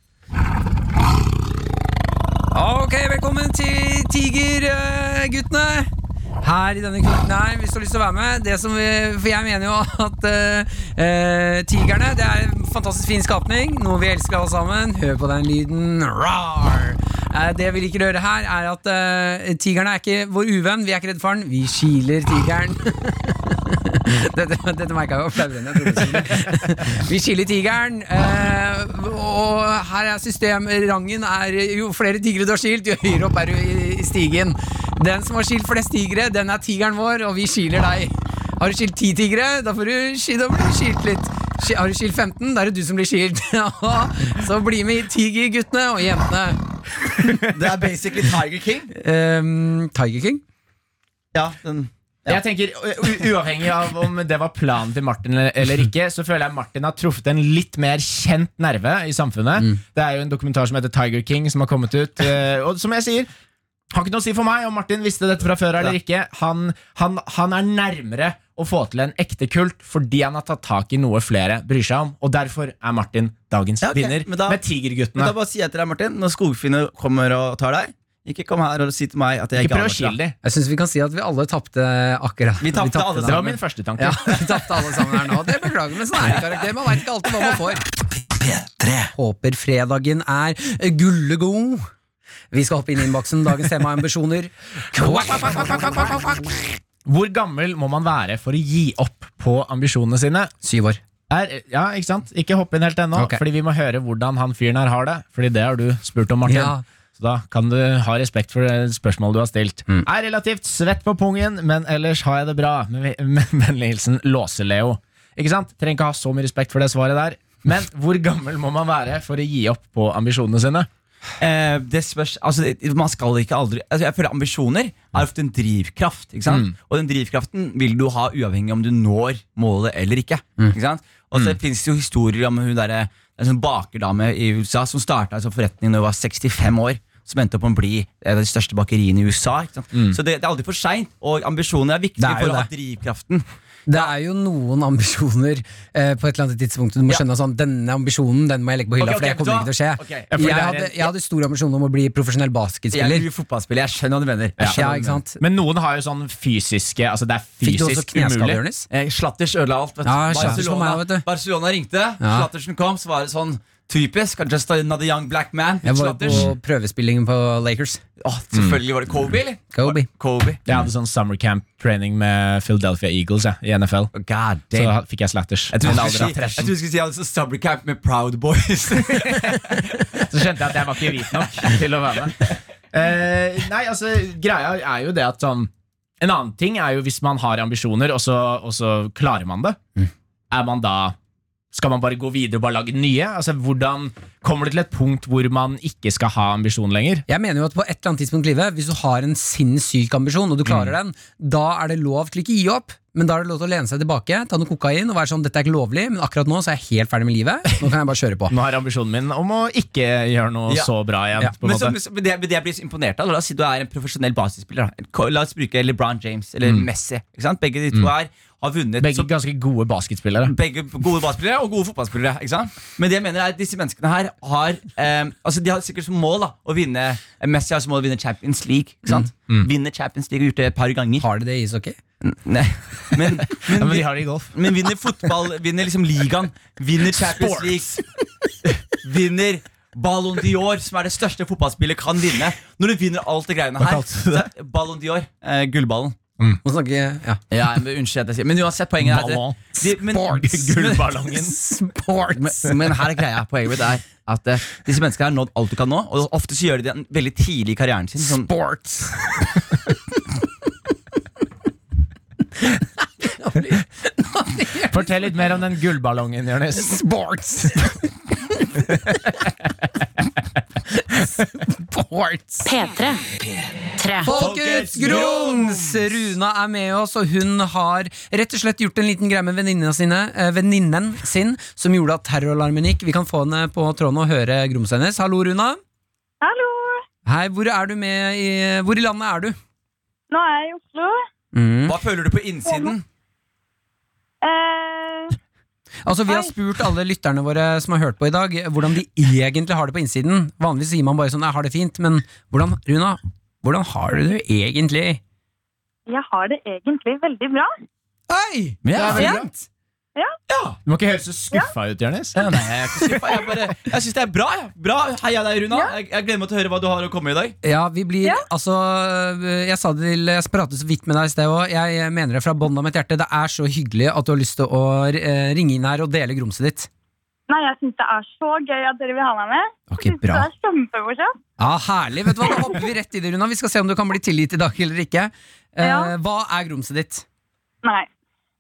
Ok, velkommen til Tigerguttene. Her i denne kulten her, hvis du har lyst til å være med. Det som vi, for jeg mener jo at eh, eh, Tigerne det er en fantastisk fin skapning. Noe vi elsker alle sammen. Hør på den lyden. Rar. Eh, det vi liker å høre her, er at eh, tigerne er ikke vår uvenn. Vi er ikke redd for den. Vi kiler tigeren. (laughs) dette, dette merka jeg var flaurende. jeg trodde det skulle- Vi skiller tigeren. Eh, og her er systemet. Rangen er Jo flere tigre du har skilt, jo høyere opp er du i, i stigen. Den som har skilt flest tigre, den er tigeren vår, og vi skiler deg. Har du skilt ti tigre, da, får du, ski- da blir du skilt litt. Ski- Har du skilt 15, da er det du som blir skilt. (laughs) Så bli med i Tigerguttene og jentene.
Det er basically Tiger King.
Eh, Tiger King?
Ja, den
Jeg tenker, u- Uavhengig av om det var planen til Martin eller ikke, så føler jeg Martin har truffet en litt mer kjent nerve i samfunnet.
Mm.
Det er jo en dokumentar som heter Tiger King, som har kommet ut. eh, Og som jeg sier, har ikke noe å si for meg om Martin visste dette fra før eller ikke. Han, han, han er nærmere å få til en ekte kult fordi han har tatt tak i noe flere bryr seg om. Og derfor er Martin dagens
Ja, ok,
vinner
men da-
med
Men da
Tigerguttene.
bare sier jeg til deg, Martin, når skogfinner kommer og tar deg, ikke kom her og si til meg at jeg
Ikke
ikke
prøv å
anerkjenner
skille dem.
Jeg syns vi kan si at vi alle tapte akkurat.
Vi tapte alle
da.
Det var min første tanke.
Ja, (laughs) vi tapte alle sammen her nå. Det beklager, men sånn er det i karakter. Man veit ikke alltid hva man får. Håper fredagen er gullegod. Vi skal hoppe inn i innboksen. Dagens tema er ambisjoner.
Hvor gammel må man være for å gi opp på ambisjonene sine?
Syv år.
Er, ja, ikke sant? Ikke hopp inn helt ennå,
Ok.
fordi vi må høre hvordan han fyren her har det. Fordi det har du spurt om, Martin.
Ja.
Så da kan du ha respekt for det spørsmålet du har stilt.
Mm.
Er relativt svett på pungen, men ellers har jeg det bra. Med vi- (laughs) med Vennlig hilsen Låse-Leo. Ikke sant? Trenger ikke ha så mye respekt for det svaret der. Men hvor gammel må man være for å gi opp på ambisjonene sine?
Eh, det spørs, altså, det- man skal ikke aldri altså, Jeg føler Ambisjoner er ofte en drivkraft.
Mm.
Ikke sant? Og den drivkraften vil du ha uavhengig om du når målet eller ikke.
Mm.
ikke sant? Og så finnes det jo historier om hun der, en sånn bakerdame i USA som starta en sånn forretning da hun var 65 år. Som endte opp med å bli eh, det største bakeriet i USA. Ikke sant? Så det, det er aldri for seint. Og ambisjoner er viktig
Mm. er jo
for å ha drivkraften.
Det er jo noen ambisjoner eh, på et eller annet tidspunkt. Du må skjønne sånn, denne ambisjonen den må jeg legge på hylla,
Ok, ok,
for det kommer
da-
ikke til å skje.
ok.
Ja, for det
jeg,
er
hadde,
en-
jeg hadde stor ambisjon om å bli profesjonell
Jeg er
basketspiller.
jo fotballspiller, jeg skjønner hva du mener. Jeg skjønner
Ja,
hva du
ikke sant?
Men noen har jo sånn fysiske Altså det er
Fikk du også
fysisk
kneskade,
umulig.
Jonis?
Eh, Slatters ødela alt. Vet du.
Ja, Slatters for meg, vet du.
Barcelona ringte,
Ja.
Slattersen kom, så var det sånn typisk. I'm Just another young black man.
Jeg var jo
Slatters.
på prøvespillingen på Lakers.
Åh, selvfølgelig var det Kobe, eller?
Kobe.
Kobe.
Jeg hadde sånn summer camp training med Philadelphia Eagles jeg, i NFL.
God
Så
damn.
da fikk jeg slatters.
Jeg trodde
Men
du
aldri
skulle
hatt
si,
trashen.
jeg trodde du skulle si altså, summer camp med Proud Boys.
Så skjønte jeg at jeg var ikke hvit nok (laughs) til å være med. Eh, nei, altså, greia er jo det at sånn En annen ting er jo hvis man har ambisjoner, og så, og så klarer man det. Er man da Skal man bare gå videre og bare lage nye? Altså, hvordan Kommer det til et punkt hvor man ikke skal ha ambisjon lenger?
Jeg mener jo at på et eller annet tidspunkt i livet, hvis du har en sinnssyk ambisjon, og du klarer den, da er det lov til ikke å gi opp, men da er det lov til å lene seg tilbake, ta noe kokain og være sånn 'dette er ikke lovlig', men akkurat nå så er jeg helt ferdig med livet, nå kan jeg bare kjøre på.
(laughs) Nå har ambisjonen min om å ikke gjøre noe
Ja.
så bra igjen. På en
men,
måte.
så, men så- men det, men det jeg blir så imponert av, la oss si du er en profesjonell basketspiller. da. Ko- La oss bruke LeBron James eller
Mm.
Messi. Ikke sant? Begge de to her har vunnet.
Begge
så-
ganske gode basketspillere.
begge gode basketspillere og gode fotballspillere. Ikke sant? Men det jeg mener er at disse menneskene her har eh, Altså de har sikkert som mål da å vinne eh, Messi har som mål å vinne Champions League. Ikke sant?
Mm.
Vinne Champions League og gjort det et par ganger.
Har du det i ishockey?
Nei. Men, men,
(laughs) Ja, men
vi-
de har det i golf.
men vinner fotball, vinner liksom ligaen, vinner Champions League, vinner Ballon Dior, som er det største fotballspillet kan vinne. Når du vinner alt det greiene her. Ballon Dior, eh, gullballen.
Må snakke ja.
Ja, men Unnskyld at jeg sier Men uansett, poenget er
Ballon.
at de, men,
Gullballongen.
men, men her er greia. Poenget mitt er at eh, disse menneskene har nådd alt du kan nå. Og ofte så gjør de det en- veldig tidlig i karrieren sin. Sånn,
Sports.
(laughs) Fortell litt mer om den gullballongen, Jonis.
Sports. Sports.
P3. P3.
Folkets grums! Runa er med oss, og hun har rett og slett gjort en liten greie med venninnene sine, eh, venninnen sin som gjorde at terroralarmen gikk. Vi kan få henne på tråden og høre grumset hennes. Hallo, Runa.
Hallo!
Hei, hvor er du med i Hvor i landet er du?
Nå er jeg i Oslo.
Mm.
hva føler du på innsiden?
Eh,
Altså, Vi har
Hei.
spurt alle lytterne våre som har hørt på i dag, hvordan de egentlig har det på innsiden. Vanligvis sier man bare sånn 'jeg har det fint', men hvordan, Runa, hvordan har du det egentlig?
jeg har det egentlig veldig bra.
Hei!
Ja,
det er veldig
ja.
bra.
Du må ikke høres så skuffa ut, Jonis.
Ja, nei, jeg er ikke skuffa. Jeg, bare- jeg syns det er bra. Ja. bra. Heia deg, Runa. Jeg, jeg gleder meg til å høre hva du har å komme med i dag.
Ja, vi blir Altså, jeg sa det til Jeg pratet så vidt med deg i sted òg. Jeg mener det fra bånn av mitt hjerte. Det er så hyggelig at du har lyst til å eh, ringe inn her og dele grumset ditt.
Nei, jeg syns det er så gøy at dere vil ha meg med.
Ok,
Jeg synes
bra.
Det er kjempemorsomt.
Ja, Herlig. Vet du hva, Da hopper vi rett i det, Runa. Vi skal se om du kan bli tilgitt i dag eller ikke. Eh,
Ja.
Hva er grumset ditt?
Nei.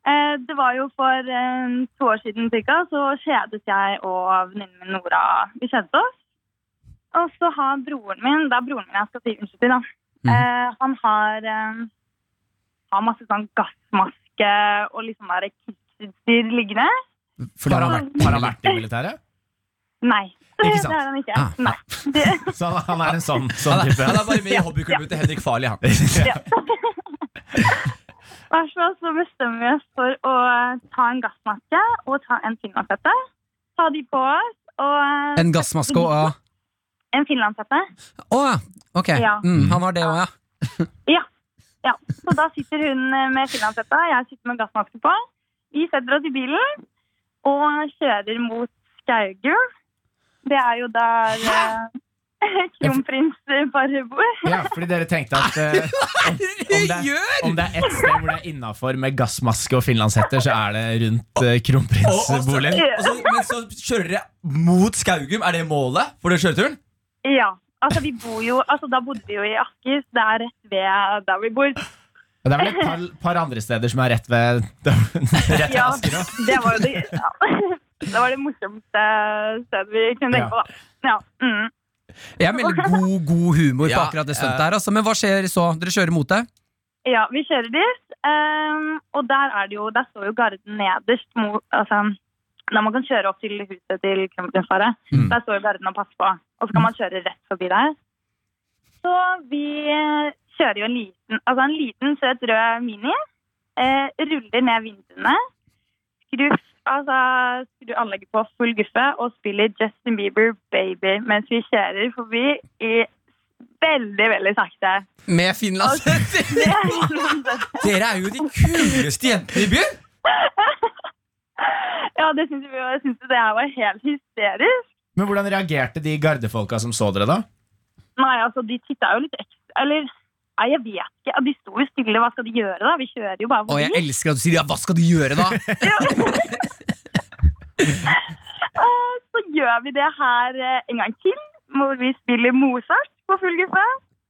Eh, det var jo for eh, to år siden cirka, så kjedet jeg og venninnen min Nora Vi kjedet oss. Og så har broren min Det er broren min jeg skal si unnskyld til, da.
Mhm.
Eh, han har, eh, har masse sånn gassmaske og liksom der krigsutstyr liggende.
For
Har
da-
han vært, har han vært i militæret?
Nei. Det,
Ikke sant?
det er han ikke.
Ah,
Nei. Det,
Så han, han er en sånn, sånn
Han er, han
type.
er bare med i hobbyklubben til Henrik Farley, (laughs) han.
I hvert fall så bestemmer vi oss for å eh, ta en gassmaske og ta en finlandshette. Ta de på oss og eh,
En gassmaske og Å
en finlandshette.
ja. Ok.
Ja.
Mm, han har det òg, ja.
Ja. ja. Så da sitter hun eh, med finlandshetta, jeg sitter med gassmaske på. Vi setter oss i bilen og kjører mot Skaugul. Det er jo der eh, (laughs) kronprinsparet bor.
Ja, fordi dere tenkte at eh, om, det, er- om det er ett sted hvor det er innafor med gassmaske og finlandshetter, så er det rundt eh, kronprinsboligen.
Og så, men så kjører dere mot Skaugum. Er det målet for den kjøreturen?
Ja. Altså, vi bor jo, altså, da bodde vi jo i Asker. Det er rett ved der vi bor.
Og Det er vel et par, par andre steder som er rett ved (laughs) rett ved
Ja,
Asker òg.
det var jo det, ja. (laughs) det, var det morsomste stedet vi kunne tenke på, da. Ja. Mm.
Jeg er veldig god, god humor på
Ja,
akkurat det stuntet her. Altså. Men hva skjer så? Dere kjører mot det?
ja, vi kjører dit, ehm, og der er det jo, der står jo garden nederst mot altså, når man kan kjøre opp til huset til kronprinsparet, der står jo garden og passer på. Og så kan man kjøre rett forbi der. Så vi eh, kjører jo en liten, altså en liten søt rød mini, eh, ruller ned vinduene, skrur, altså, skrur anlegget på full guffe og spiller Justin Bieber Baby mens vi kjører forbi i veldig, veldig sakte. (laughs)
Med Finland?
(laughs) Dere er jo de kuleste jentene i byen!
(laughs) Ja, det syns vi Jeg syns det her var helt hysterisk.
Men hvordan reagerte de gardefolka som så dere, da?
Nei, altså, de titta jo litt ekstra Eller nei, jeg vet ikke. De sto jo stille. Hva skal de gjøre, da? Vi kjører jo bare
Og jeg
forbi.
elsker at du sier ja, hva skal du gjøre da?
Og Eh, så gjør vi det her eh, en gang til, hvor vi spiller Mozart på full guffe.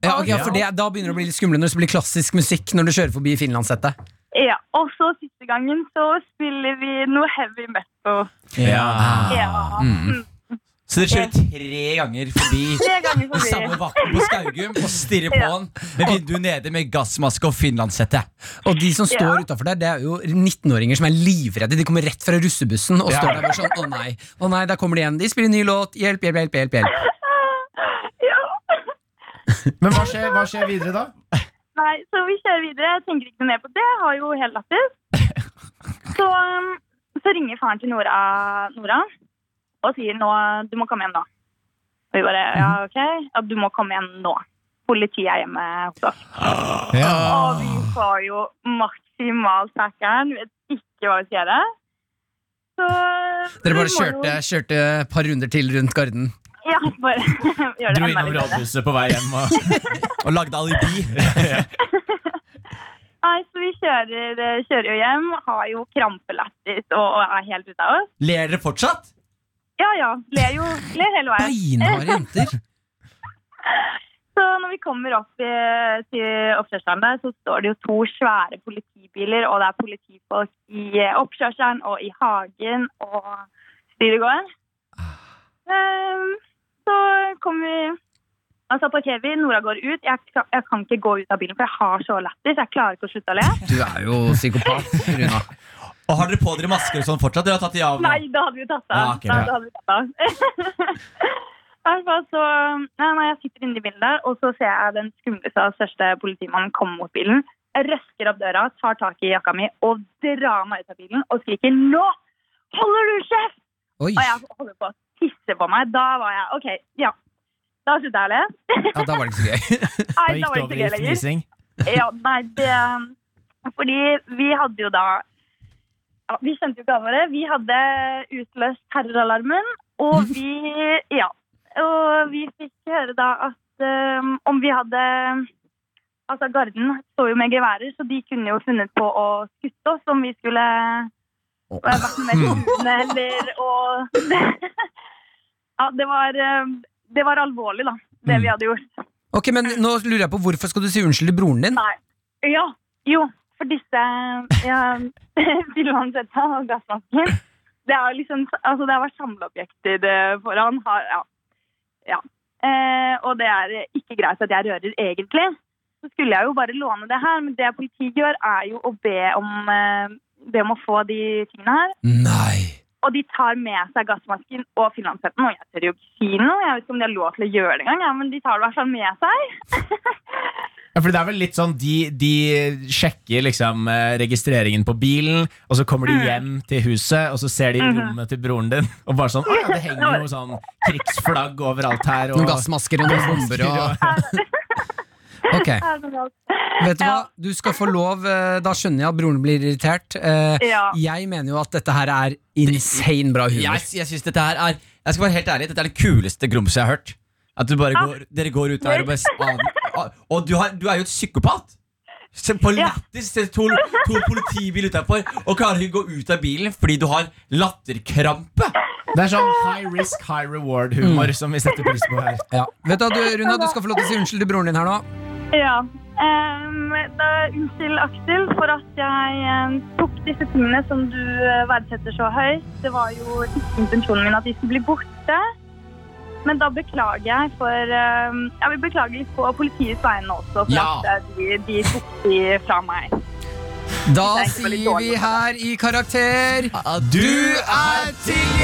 Ja, ok, for det, Da begynner det å bli litt skumle når det blir klassisk musikk når du kjører forbi finlandshettet.
Ja, Og så siste gangen så spiller vi noe heavy metal. Ja. Mm.
Så dere kjører tre ganger forbi
(laughs) Tre ganger
den samme
forbi.
vakten på Skaugum og stirrer på han med vinduet nede med gassmaske og finlandshette.
Og de som står
Ja.
utenfor der, det er jo 19-åringer som er livredde. De kommer rett fra russebussen og står der bare sånn Å nei, å nei, der kommer de igjen. De spiller en ny låt. Hjelp, hjelp, hjelp. hjelp, hjelp.
Ja.
Men hva skjer, hva skjer videre, da?
Nei, så vi kjører videre. Jeg tenker ikke noe mer på det. Jeg har jo helt
(laughs)
lættis. Så, um, så ringer faren til Nora, Nora og sier nå, du må komme hjem nå. Og vi bare ja, OK. Ja, du må komme hjem nå. Politiet er hjemme hos oss. Og vi
Ah.
får jo maksimalt packeren. Vet ikke hva vi skal gjøre. Så
Dere bare
vi må
kjørte, kjørte et par runder til rundt garden.
Jo, ja, bare (laughs) gjør det
Dro innom
enda (laughs) litt bedre.
rådhuset på vei hjem og
Og lagde alibi.
Nei, så vi kjører, eh, kjører jo hjem, har jo krampelættis og og er helt ute av oss.
Ler dere fortsatt?
Ja, ja. Ler jo ler hele veien.
Beinharde jenter.
Så når vi kommer opp i, til oppkjørselen der, så står det jo to svære politibiler, og det er politifolk i eh, oppkjørselen og i hagen og videregående. Ehm, så kommer vi Altså parkerer vi, Nora går ut. Jeg, kan- jeg kan ikke gå ut av bilen, for jeg har så lættis. Jeg klarer ikke å slutte å le.
Du er jo psykopat, Runa.
Og har dere på dere masker og sånn fortsatt? Dere har tatt de av nå?
Nei, da hadde vi jo tatt av.
Ja, ok,
Da
ja.
hadde vi tatt av. (laughs) I hvert fall så nei, nei, Jeg sitter inne i bilen der, og så ser jeg den skumleste og største politimannen komme mot bilen. Jeg røsker opp døra, tar tak i jakka mi og drar meg ut av bilen og skriker 'Nå holder du kjeft!'
Oi.
Og jeg holder på å tisse på meg. Da var jeg OK, ja. Da slutta jeg å le.
Ja, da var det ikke så gøy.
Ah, Da
Nei,
gikk
da var
det
det
over
ikke
i
gøy lenger.
fnising.
Ja, nei, det Fordi vi hadde jo da ja, Vi kjente jo ikke av hverandre. Vi hadde utløst terroralarmen, og vi Ja. Og vi fikk høre da at eh, om vi hadde Altså, garden så jo med geværer, så de kunne jo funnet på å skutte oss om vi skulle eh, vært med truende eller og (laughs) Ja, det var eh, Det var alvorlig, da, det vi hadde gjort.
Ok, men nå lurer jeg på Hvorfor skal du si unnskyld til broren din?
Nei. Ja. Jo, for disse ja, (laughs) bilvannsetta og gassmasken Det er jo liksom Altså, det har vært samleobjekter eh, foran. Har, ja. ja. Eh, og det er ikke greit at jeg rører, egentlig. Så skulle jeg jo bare låne det her, men det politiet gjør, er jo å be om, eh, be om å få de tingene her.
Nei.
Og de tar med seg gassmasken og finlandshetten. Og jeg tør jo ikke si noe. Jeg vet ikke om de har lov til å gjøre det engang, ja, men de tar det i hvert fall med seg. (laughs)
Ja, for det er vel litt sånn De, de sjekker liksom eh, registreringen på bilen, og så kommer de hjem til huset, og så ser de rommet til broren din, og bare sånn Å ja, det henger jo sånn krigsflagg overalt her,
Noen
og
gassmasker og noen bomber og Ok,
Ja, det er sant.
vet du hva? Du skal få lov. eh, Da skjønner jeg at broren blir irritert. Eh,
Ja.
Jeg mener jo at dette her er insane bra humor.
Jeg, jeg synes dette her er Jeg skal være helt ærlig, dette er det kuleste grumset jeg har hørt. At du
Ah.
bare går, dere går ut der og bare s- av- av- Og du, har, du er jo et psykopat! Se på
Ja.
lættis! se To, to politibil utafor, og klarer ikke å gå ut av bilen fordi du har latterkrampe!
Det er sånn high risk, high reward-humor
Mm.
som vi setter pris på her.
Ja. Vet du, hva, du, Runa, du skal få lov til å si unnskyld til broren din her nå.
Ja. Um, da, unnskyld, Aksel, for at jeg em, tok disse tingene som du eh, verdsetter så høyt. Det var jo ikke intensjonen min at de skulle bli borte. Men da beklager jeg for um, Jeg vil beklage litt på politiets vegne også, for
Ja.
at eh, de, de tok de fra meg.
Da
Det er ikke veldig
sier
dårlig
vi
på
her i karakter
Ah,
Du er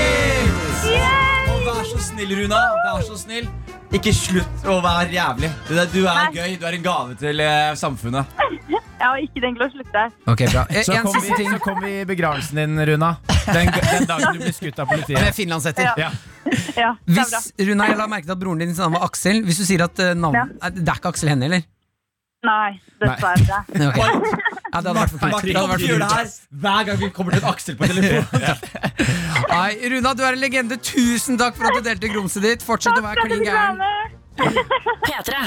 tilgitt!
Yay!
Og vær så snill, Runa. Vær så snill. Ikke slutt å være jævlig. Det der, du er
Nei.
gøy. Du er en gave til eh, samfunnet.
Jeg har ikke tenkt å slutte.
Ok, bra. Eh,
Så
En
kom,
siste
vi,
ting
så kom vi i begravelsen din, Runa. Den, den dagen du ble skutt av
med
politiet.
finlandshetter.
Ja.
(laughs) Ja, det er bra.
Hvis, Runa, jeg la merke til at broren din navn var Aksel. Hvis du sier at eh, navn,
Ja.
eh, Det er ikke Aksel Hennie, eller?
Nei, dessverre.
Nei, ok. Ja, det hadde vært for kleint.
Martin
Det hadde
kommer
vært
til å
for
gjøre det
dumt.
her hver gang vi kommer til en Aksel på telefonen.
Nei, Runa, du er en legende. Tusen takk for at du delte grumset ditt. Fortsett å være klin gæren.
Programmet.
P3.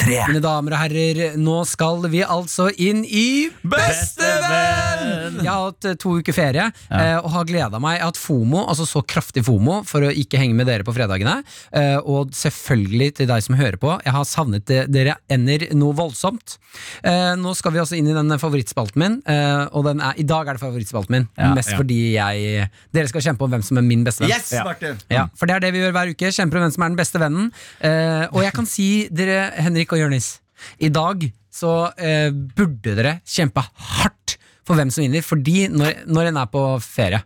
Mine damer og herrer, nå skal vi altså inn i
Bestevenn!
Jeg har hatt eh, to uker ferie eh, og har gleda meg. Jeg har hatt FOMO, altså så kraftig FOMO, for å ikke henge med dere på fredagene. Eh, og selvfølgelig til deg som hører på, jeg har savnet de- dere ender noe voldsomt. Eh, nå skal vi altså inn i den favorittspalten min, eh, og den er, i dag er det favorittspalten min. mest fordi jeg Dere skal kjempe om hvem som er min beste venn.
Yes, Martin.
Ja, for det er det vi gjør hver uke. Kjemper om hvem som er den beste vennen. Eh, og jeg kan si dere, Henrik og Jonis, i dag så eh, burde dere kjempe hardt for hvem som vinner, fordi når, når en er på ferie,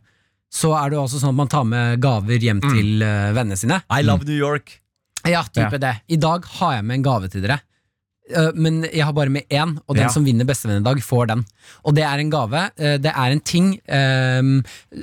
så er det jo altså sånn at man tar med gaver hjem til eh, vennene sine.
I love New York.
Ja, type
Ja.
det. I dag har jeg med en gave til dere. Eh, Men jeg har bare med én, og den
Ja.
som vinner Bestevenn i dag, får den. Og det er en gave. eh, Det er en ting ehm,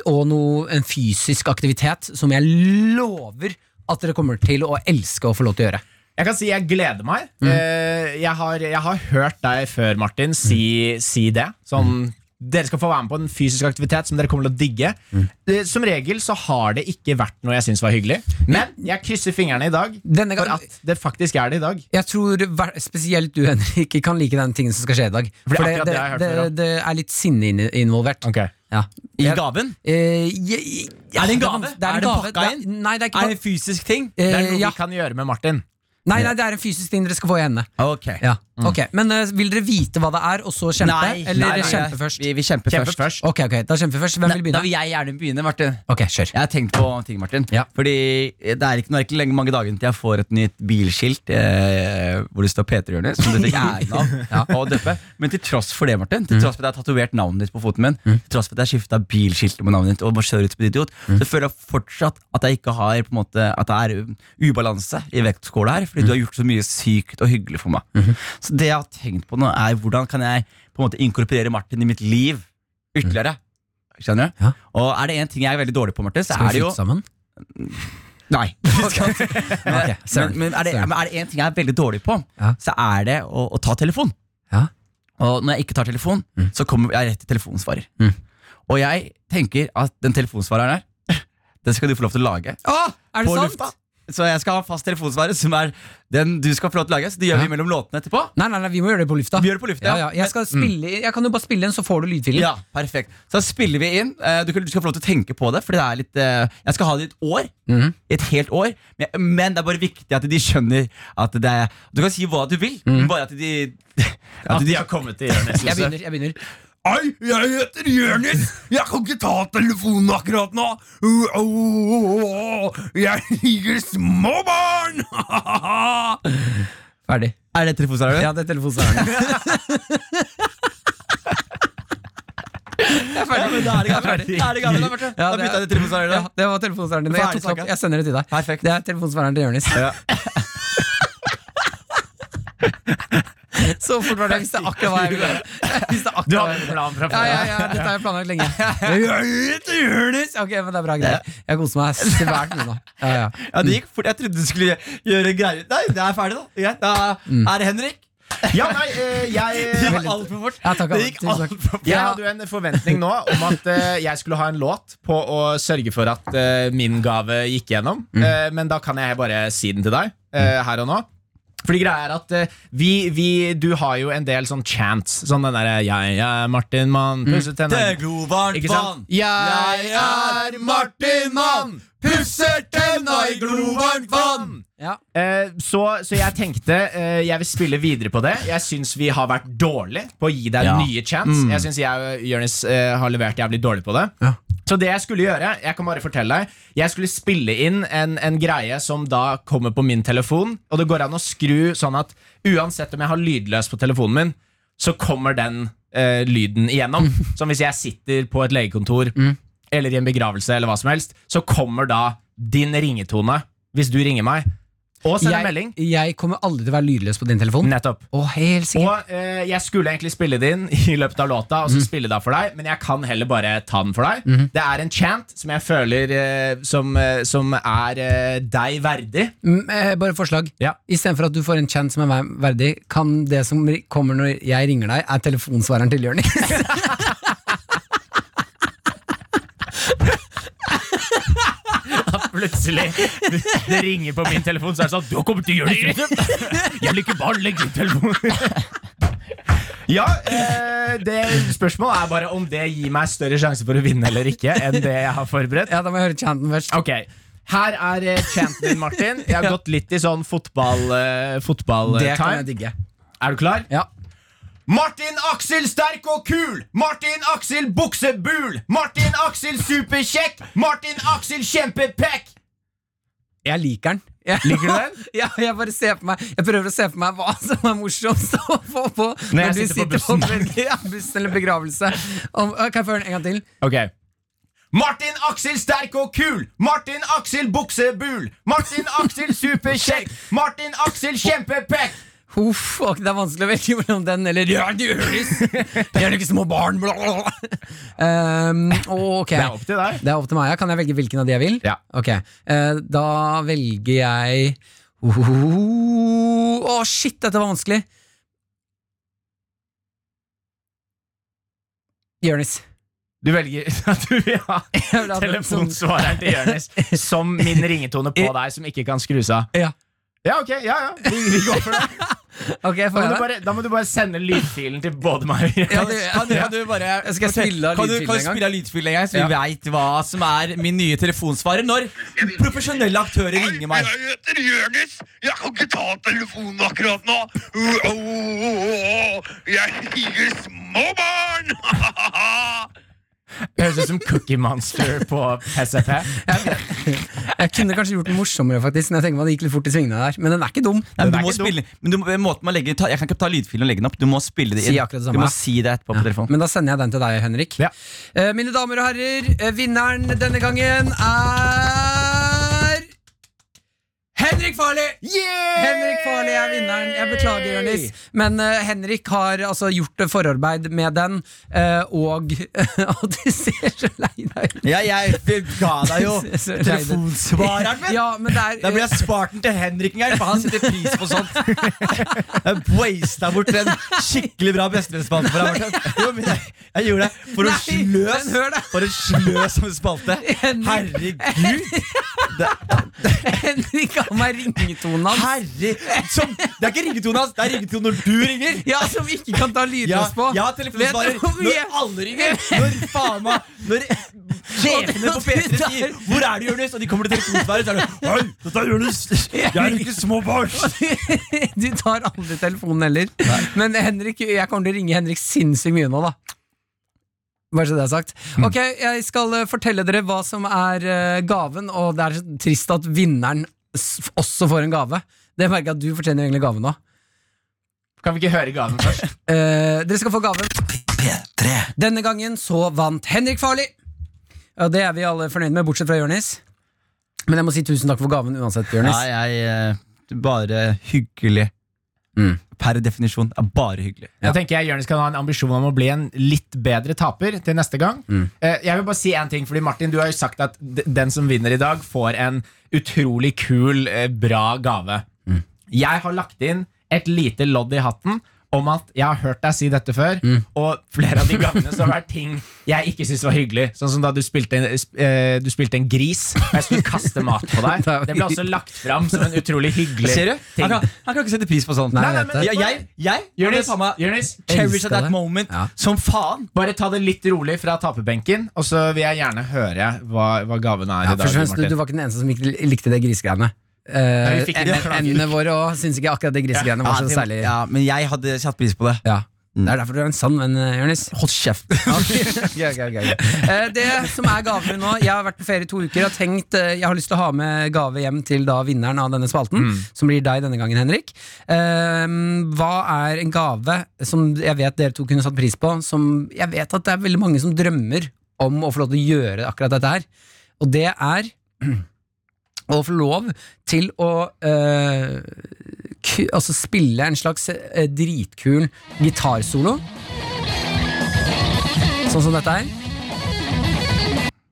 og noe, en fysisk aktivitet som jeg lover at dere kommer til å elske å få lov til å gjøre.
Jeg kan si jeg gleder meg.
Mm. Mm.
Eh, jeg, har, jeg har hørt deg før, Martin, si, si det. Sånn Dere skal få være med på en fysisk aktivitet som dere kommer til å digge.
Mm.
Eh, Som regel så har det ikke vært noe jeg syns var hyggelig, men
Mm.
jeg krysser fingrene i dag
Denne
for
gang-
at det faktisk er det i dag.
Jeg tror hver- spesielt du, Henrik, kan like den tingen som skal skje i dag.
For det er
For det,
akkurat det
det,
jeg har hørt
det,
før, da.
det er litt sinne inn- involvert. Ja.
I
Jeg-
gaven?
Eh, jeg- ja,
Er det en
vans-
gave?
Det er,
Er
en
det
gave.
pakka
Det er- Nei, det er ikke
Er
pakka.
det en fysisk ting?
Det er
Eh,
noe
ja.
vi kan gjøre med Martin.
Nei, nei, det er en fysisk ting dere skal få i henne.
Ok
Ja.
Mm.
Ok, Men eh, vil dere vite hva det er, og så kjempe? Eller kjempe først?
Vi, vi kjemper,
Kjempe
først.
først.
Ok, ok, Da kjemper vi først. Hvem vil
Da
begynne?
vil jeg gjerne begynne, Martin.
Ok, kjør.
Jeg har tenkt på en ting, Martin.
Ja.
Fordi det er ikke, nå er det ikke lenge mange dagene til jeg får et nytt bilskilt eh, hvor det står Peter Jonis, som du fikk æren
(laughs)
av å døpe. Men til tross for det, Martin,
Mm.
til tross for at jeg har tatovert navnet ditt på foten min, til tross for at jeg har skifta bilskilt med navnet ditt og bare kjører ut som en idiot,
Mm.
så føler jeg fortsatt at jeg ikke har på en måte, at det er u- ubalanse i vektskåla her,
Mm.
fordi du har gjort så mye sykt og hyggelig for meg.
Mm-hmm.
Så det jeg har tenkt på nå, er hvordan kan jeg på en måte inkorporere Martin i mitt liv ytterligere? Mm. Skjønner du?
Ja.
Og er det én ting jeg er veldig dårlig på, Martin, så
Skal
er
vi
det jo
flytte sammen? (laughs)
Nei.
Ok, søren.
men, men er det
Søren.
men er det én ting jeg er veldig dårlig på,
Ja.
så er det å, å ta telefon.
Ja.
Og når jeg ikke tar telefon, så kommer jeg rett til telefonsvarer.
Mm.
Og jeg tenker at den telefonsvareren her, (laughs) den skal du få lov til å lage.
Å, er det
på
sant?
lufta. Så jeg skal ha en fast telefonsvarer som er den du skal få lov til å lage. Så det gjør
Ja.
vi mellom låtene etterpå.
Nei, nei, nei, vi må gjøre det på lufta.
Vi gjør det på lufta,
ja,
ja. Mm.
ja. Jeg, skal spille, jeg kan jo bare spille en, så får du lydfilen.
Ja, perfekt Så spiller vi inn. Eh, Du kan- du skal få lov til å tenke på det. Fordi det er litt eh, Jeg skal ha det i et år.
Mhm.
I Et helt år. Men, men det er bare viktig at de skjønner at det er Du kan si hva du vil,
Mhm.
men bare at de At de har kommet til Jonis.
Jeg begynner. jeg begynner
Hei, jeg heter Jonis. Jeg kan ikke ta telefonen akkurat nå. Jeg liker små (laughs) barn!
Ferdig.
Er det telefonsvareren?
Ja, det er telefonsvareren. Jeg er ferdig.
men da er det gammelt. Da er det gammelt, da, Martin.
Ja,
Da
det er-
bytter jeg til telefonsvareren.
(laughs) Ja, det var telefonsvareren din. Jeg, tok
Ferdig
det opp.
snakka.
jeg sender det til deg.
Perfekt.
Det er telefonsvareren til Jonis. (laughs) Så fort var det. Jeg visste akkurat hva jeg ville gjøre. Jeg visste akkurat
Du
hva
har en
jeg ville
plan fra
ja,
før?
ja, ja, dette har jeg planlagt lenge. (laughs) Ok, men det er bra greier. Jeg koser meg svært mye nå. Ja, ja.
Ja, det gikk fort. Jeg trodde du skulle gjøre greier. Nei, det er ferdig, da. Ja, da er det Henrik.
Ja, nei, eh,
Det
jeg
gikk altfor fort.
Mm. Ja, takk,
det
Anna.
gikk
Tusen takk.
alt for fort.
Jeg
Ja.
hadde jo en forventning nå om at eh, jeg skulle ha en låt på å sørge for at eh, min gave gikk gjennom.
Mm.
Eh, men da kan jeg bare si den til deg eh, her og nå. Fordi greia er at eh, vi, vi, Du har jo en del sånn chants. Sånn den derre 'Jeg er Martin Mann', pusset
Mm. Det
tenner
er glovarmt
Ikke sant?
vann. Jeg er Martin Mann, pusser tenna i glovarmt vann.
Ja.
Eh, så, så jeg tenkte eh, jeg vil spille videre på det. Jeg syns vi har vært dårlig på å gi deg
Ja.
nye chance. Jeg syns jeg og Jonis eh, har levert jævlig dårlig på det.
Ja.
Så det jeg skulle gjøre, jeg kan bare fortelle deg Jeg skulle spille inn en, en greie som da kommer på min telefon. Og det går an å skru sånn at uansett om jeg har lydløs på telefonen min, så kommer den eh, lyden igjennom. Som hvis jeg sitter på et legekontor eller i en begravelse, eller hva som helst, så kommer da din ringetone, hvis du ringer meg, og sender
Jeg,
melding.
jeg kommer aldri til å være lydløs på din telefon.
Nettopp.
Å, helt sikkert.
Og eh, jeg skulle egentlig spille det inn (laughs) i løpet av låta, og så spille det av for deg, men jeg kan heller bare ta den for deg. Det er en chant som jeg føler eh, som, eh, som er eh, deg verdig.
Mm, eh, Bare forslag.
Ja.
Istedenfor at du får en chant som er meg verdig, kan det som ri- kommer når jeg ringer deg, er telefonsvareren til Jonis? (laughs)
(laughs) Plutselig det ringer på min telefon, så er det sånn Du har kommet til å gjøre det! Jeg vil ikke bare legge ut telefonen. (laughs) Ja, eh, det Spørsmålet er bare om det gir meg større sjanse for å vinne eller ikke enn det jeg har forberedt.
ja, da må jeg høre chanten først.
Ok, her er eh, chanten din, Martin. Jeg har gått litt i sånn eh, fotball-time.
Det kan jeg digge.
er du klar?
Ja.
Martin Aksel sterk og kul! Martin Aksel buksebul! Martin Aksel superkjekk! Martin Aksel kjempepekk!
Jeg liker den. Jeg,
Liker du den?
(laughs) ja, jeg bare ser på meg Jeg prøver å se for meg hva som er morsomst å få på når,
jeg
du
sitter på
på ja, bussen eller begravelse. Om, eh, kan jeg få høre den en gang til?
Ok Martin Aksel sterk og kul! Martin Aksel buksebul! Martin Aksel superkjekk! Martin Aksel kjempepekk!
Uff, ok, det er vanskelig å velge mellom den eller Ja, det gjøres! Det er ikke små barn, bla, bla, bla. Um, ok.
Det er opp til deg.
Det er opp til meg. ja. Kan jeg velge hvilken av de jeg vil?
Ja.
Ok, eh, Da velger jeg Uhuh. Å, shit, dette var vanskelig. Jonis.
Du velger (laughs) at du vil ha
Jeg vil ha den sånn. som-
telefonsvareren til Jonis som min ringetone (laughs) på deg, som ikke kan skrus av.
Ja.
Ja, ok, ja, ja. Vi, vi går for det.
Ok,
Da
får jeg
må, du
det?
bare, da må du bare sende lydfilen til både meg og Jonis.
Ja, det-
Kan du, kan du bare
Skal jeg (laughs) spille av
Kan du, kan
lydfilen
du
en gang?
spille av lydfilen en gang, så vi
Ja.
vet hva som er min nye telefonsvarer når profesjonelle aktører ringer meg?
Jeg heter Jonis. Jeg kan ikke ta telefonen akkurat nå. Uh, oh, oh, oh. Jeg higer små barn!
Høres ut som Cookie Monster på SFP.
(laughs) Jeg kunne kanskje gjort den morsommere, faktisk. Når jeg tenker meg at det gikk litt fort i svingene der Men den er ikke dum.
Nei, men
Den
du
er
må
ikke dum.
spille men du, må- måten man legger, ta, Jeg kan ikke ta lydfilen og legge den opp. Du må spille det
Si
inn.
akkurat det samme.
du må si det etterpå på telefonen.
Men da sender jeg den til deg, Henrik.
Ja.
Eh, mine damer og herrer, eh, vinneren denne gangen er Henrik Farley! Henrik Farley er vinneren. Jeg beklager, Jonis. Men eh, Henrik har altså gjort eh, forarbeid med den, eh, og (laughs) Og du ser så lei deg ut.
Ja, jeg ga deg
(laughs)
jo
Du ser så lei deg ut.
telefonsvareren min!
Ja, men det er
Da blir jeg spart den til Henrik en gang, for han setter pris på sånt. Jeg wasta bort en skikkelig bra bestevennspalte for deg, Martin. Jo, men jeg, jeg gjorde det for en
Nei, men hør
sløs (laughs)
da.
For en sløs som en spalte.
Henrik,
Herregud!
Henrik har meg ringetonen hans.
Herre, som, det er ikke ringetone hans, det er ringetone når du ringer.
Ja, som ikke kan ta
Ja,
lydløs på. (laughs)
jeg har telefonsvarer
Vet du hvor mye-
når alle ringer. Når faen meg Når sjefene på P3 sier 'Hvor er du, Jonis?' og de kommer til telefonsvarer, så er det 'Hei, dette er Jonis. Jeg er ikke små barn'.
Du tar aldri telefonen heller. Men Henrik, jeg kommer til å ringe Henrik sinnssykt mye nå, da. Bare så det er sagt.
Mm.
Ok, Jeg skal eh, fortelle dere hva som er eh, gaven, og det er så trist at vinneren s- også får en gave. Det merker jeg at du fortjener egentlig gaven nå.
Kan vi ikke høre gaven først?
Eh, dere skal få gaven. Denne gangen så vant Henrik Farli. Og det er vi alle fornøyd med, bortsett fra Jonis. Men jeg må si tusen takk for gaven uansett, Jonis.
Nei, jeg eh, Bare hyggelig.
Mm.
Per definisjon er bare hyggelig.
Da tenker jeg Jonis kan ha en ambisjon om å bli en litt bedre taper til neste gang.
Mm.
Eh, Jeg vil bare si en ting, fordi Martin, du har jo sagt at d- den som vinner i dag, får en utrolig kul, eh, bra gave.
Mm.
Jeg har lagt inn et lite lodd i hatten om at jeg har hørt deg si dette før,
Mm.
og flere av de gangene så har det vært ting jeg ikke syntes var hyggelig. Sånn som da du spilte en, eh, du spilte en gris, og jeg skulle kaste mat på
(laughs)
deg. Det ble også lagt fram som en utrolig hyggelig
Ser du?
ting.
Han kan, han kan ikke sette pris på sånt.
Nei, jeg vet
men,
det.
jeg, jeg, jeg,
Jonis,
faen meg
Jonis,
Cherish
elsker
at that
det.
moment
Ja.
som faen.
Bare ta det litt rolig fra taperbenken, og så vil jeg gjerne høre hva, hva gaven er
Ja,
i
først
dag.
og fremst, du,
Martin.
du var ikke den eneste som ikke likte det grisegreiene. Uh,
vi fikk ikke det.
Endene våre òg syns ikke akkurat det grisegreiene var så
det-
særlig
ja, men jeg hadde satt pris på det.
Ja. Det er derfor du er en sann venn, eh, Jonis.
Hold kjeft.
Eh, Det som er gaven min nå Jeg har vært på ferie i to uker og har tenkt eh, Jeg har lyst til å ha med gave hjem til da vinneren av denne spalten, som blir deg denne gangen, Henrik. Eh, Hva er en gave som jeg vet dere to kunne satt pris på, som jeg vet at det er veldig mange som drømmer om å få lov til å gjøre akkurat dette her? Og det er å få lov til å eh, ku, altså spille en slags eh, dritkul gitarsolo. Sånn som dette her.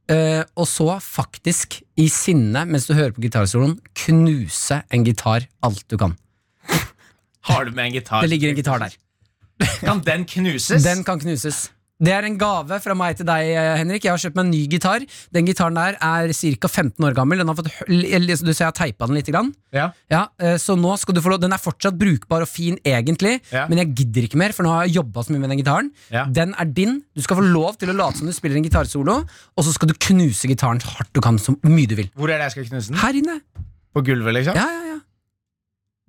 Eh, og så faktisk, i sinne, mens du hører på gitarsoloen, knuse en gitar alt du kan.
Har du med en gitar?
Det ligger en gitar der.
Kan den knuses?
Den kan knuses. Det er en gave fra meg til deg, eh, Henrik. Jeg har kjøpt meg en ny gitar. Den gitaren der er ca. 15 år gammel. Den har fått, hø- eller, som du ser, jeg har teipa den litt. Grann.
Ja.
Ja, eh, så nå skal du få lov Den er fortsatt brukbar og fin, egentlig,
Ja.
men jeg gidder ikke mer, for nå har jeg jobba så mye med den gitaren.
Ja.
Den er din. Du skal få lov til å late som du spiller en gitarsolo, og så skal du knuse gitaren så hardt du kan, så mye du vil.
Hvor er det jeg skal knuse den?
Her inne.
På gulvet, liksom?
Ja, ja, ja.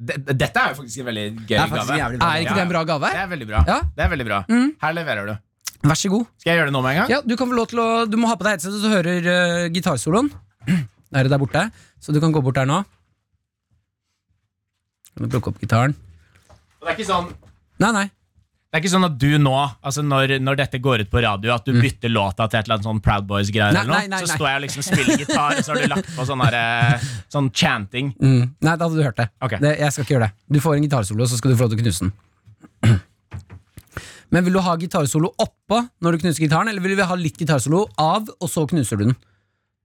D- d- Dette er jo faktisk en veldig gøy
Det er faktisk
gave.
en jævlig bra
Er ikke det en bra gave?
Det er veldig bra.
Ja.
Det er veldig bra.
Mm.
Her leverer du.
Vær så god.
Skal jeg gjøre det nå med en gang?
Ja, du, kan få lov til å, du må ha på deg headsetet, så hører uh, gitarsoloen. (clears throat) Da er det der borte, så du kan gå bort der nå. Kan du plukke opp gitaren?
Og Det, er ikke sånn,
Nei, nei.
det er ikke sånn at du nå, altså når, når dette går ut på radio, at du bytter låta til et eller annet sånn Proud Boys-greier,
Mm. Nei,
eller noe,
nei, nei,
så
nei.
står jeg og liksom spiller gitar, og så har du lagt på sånn, der, eh, sånn chanting.
Mm. Nei, da hadde du hørt det.
Ok.
det. Jeg skal ikke gjøre det. Du får en gitarsolo, så skal du få lov til å knuse den. (clears throat) Men vil du ha gitarsolo oppå når du knuser gitaren, eller vil du ha litt gitarsolo av, og så knuser du den?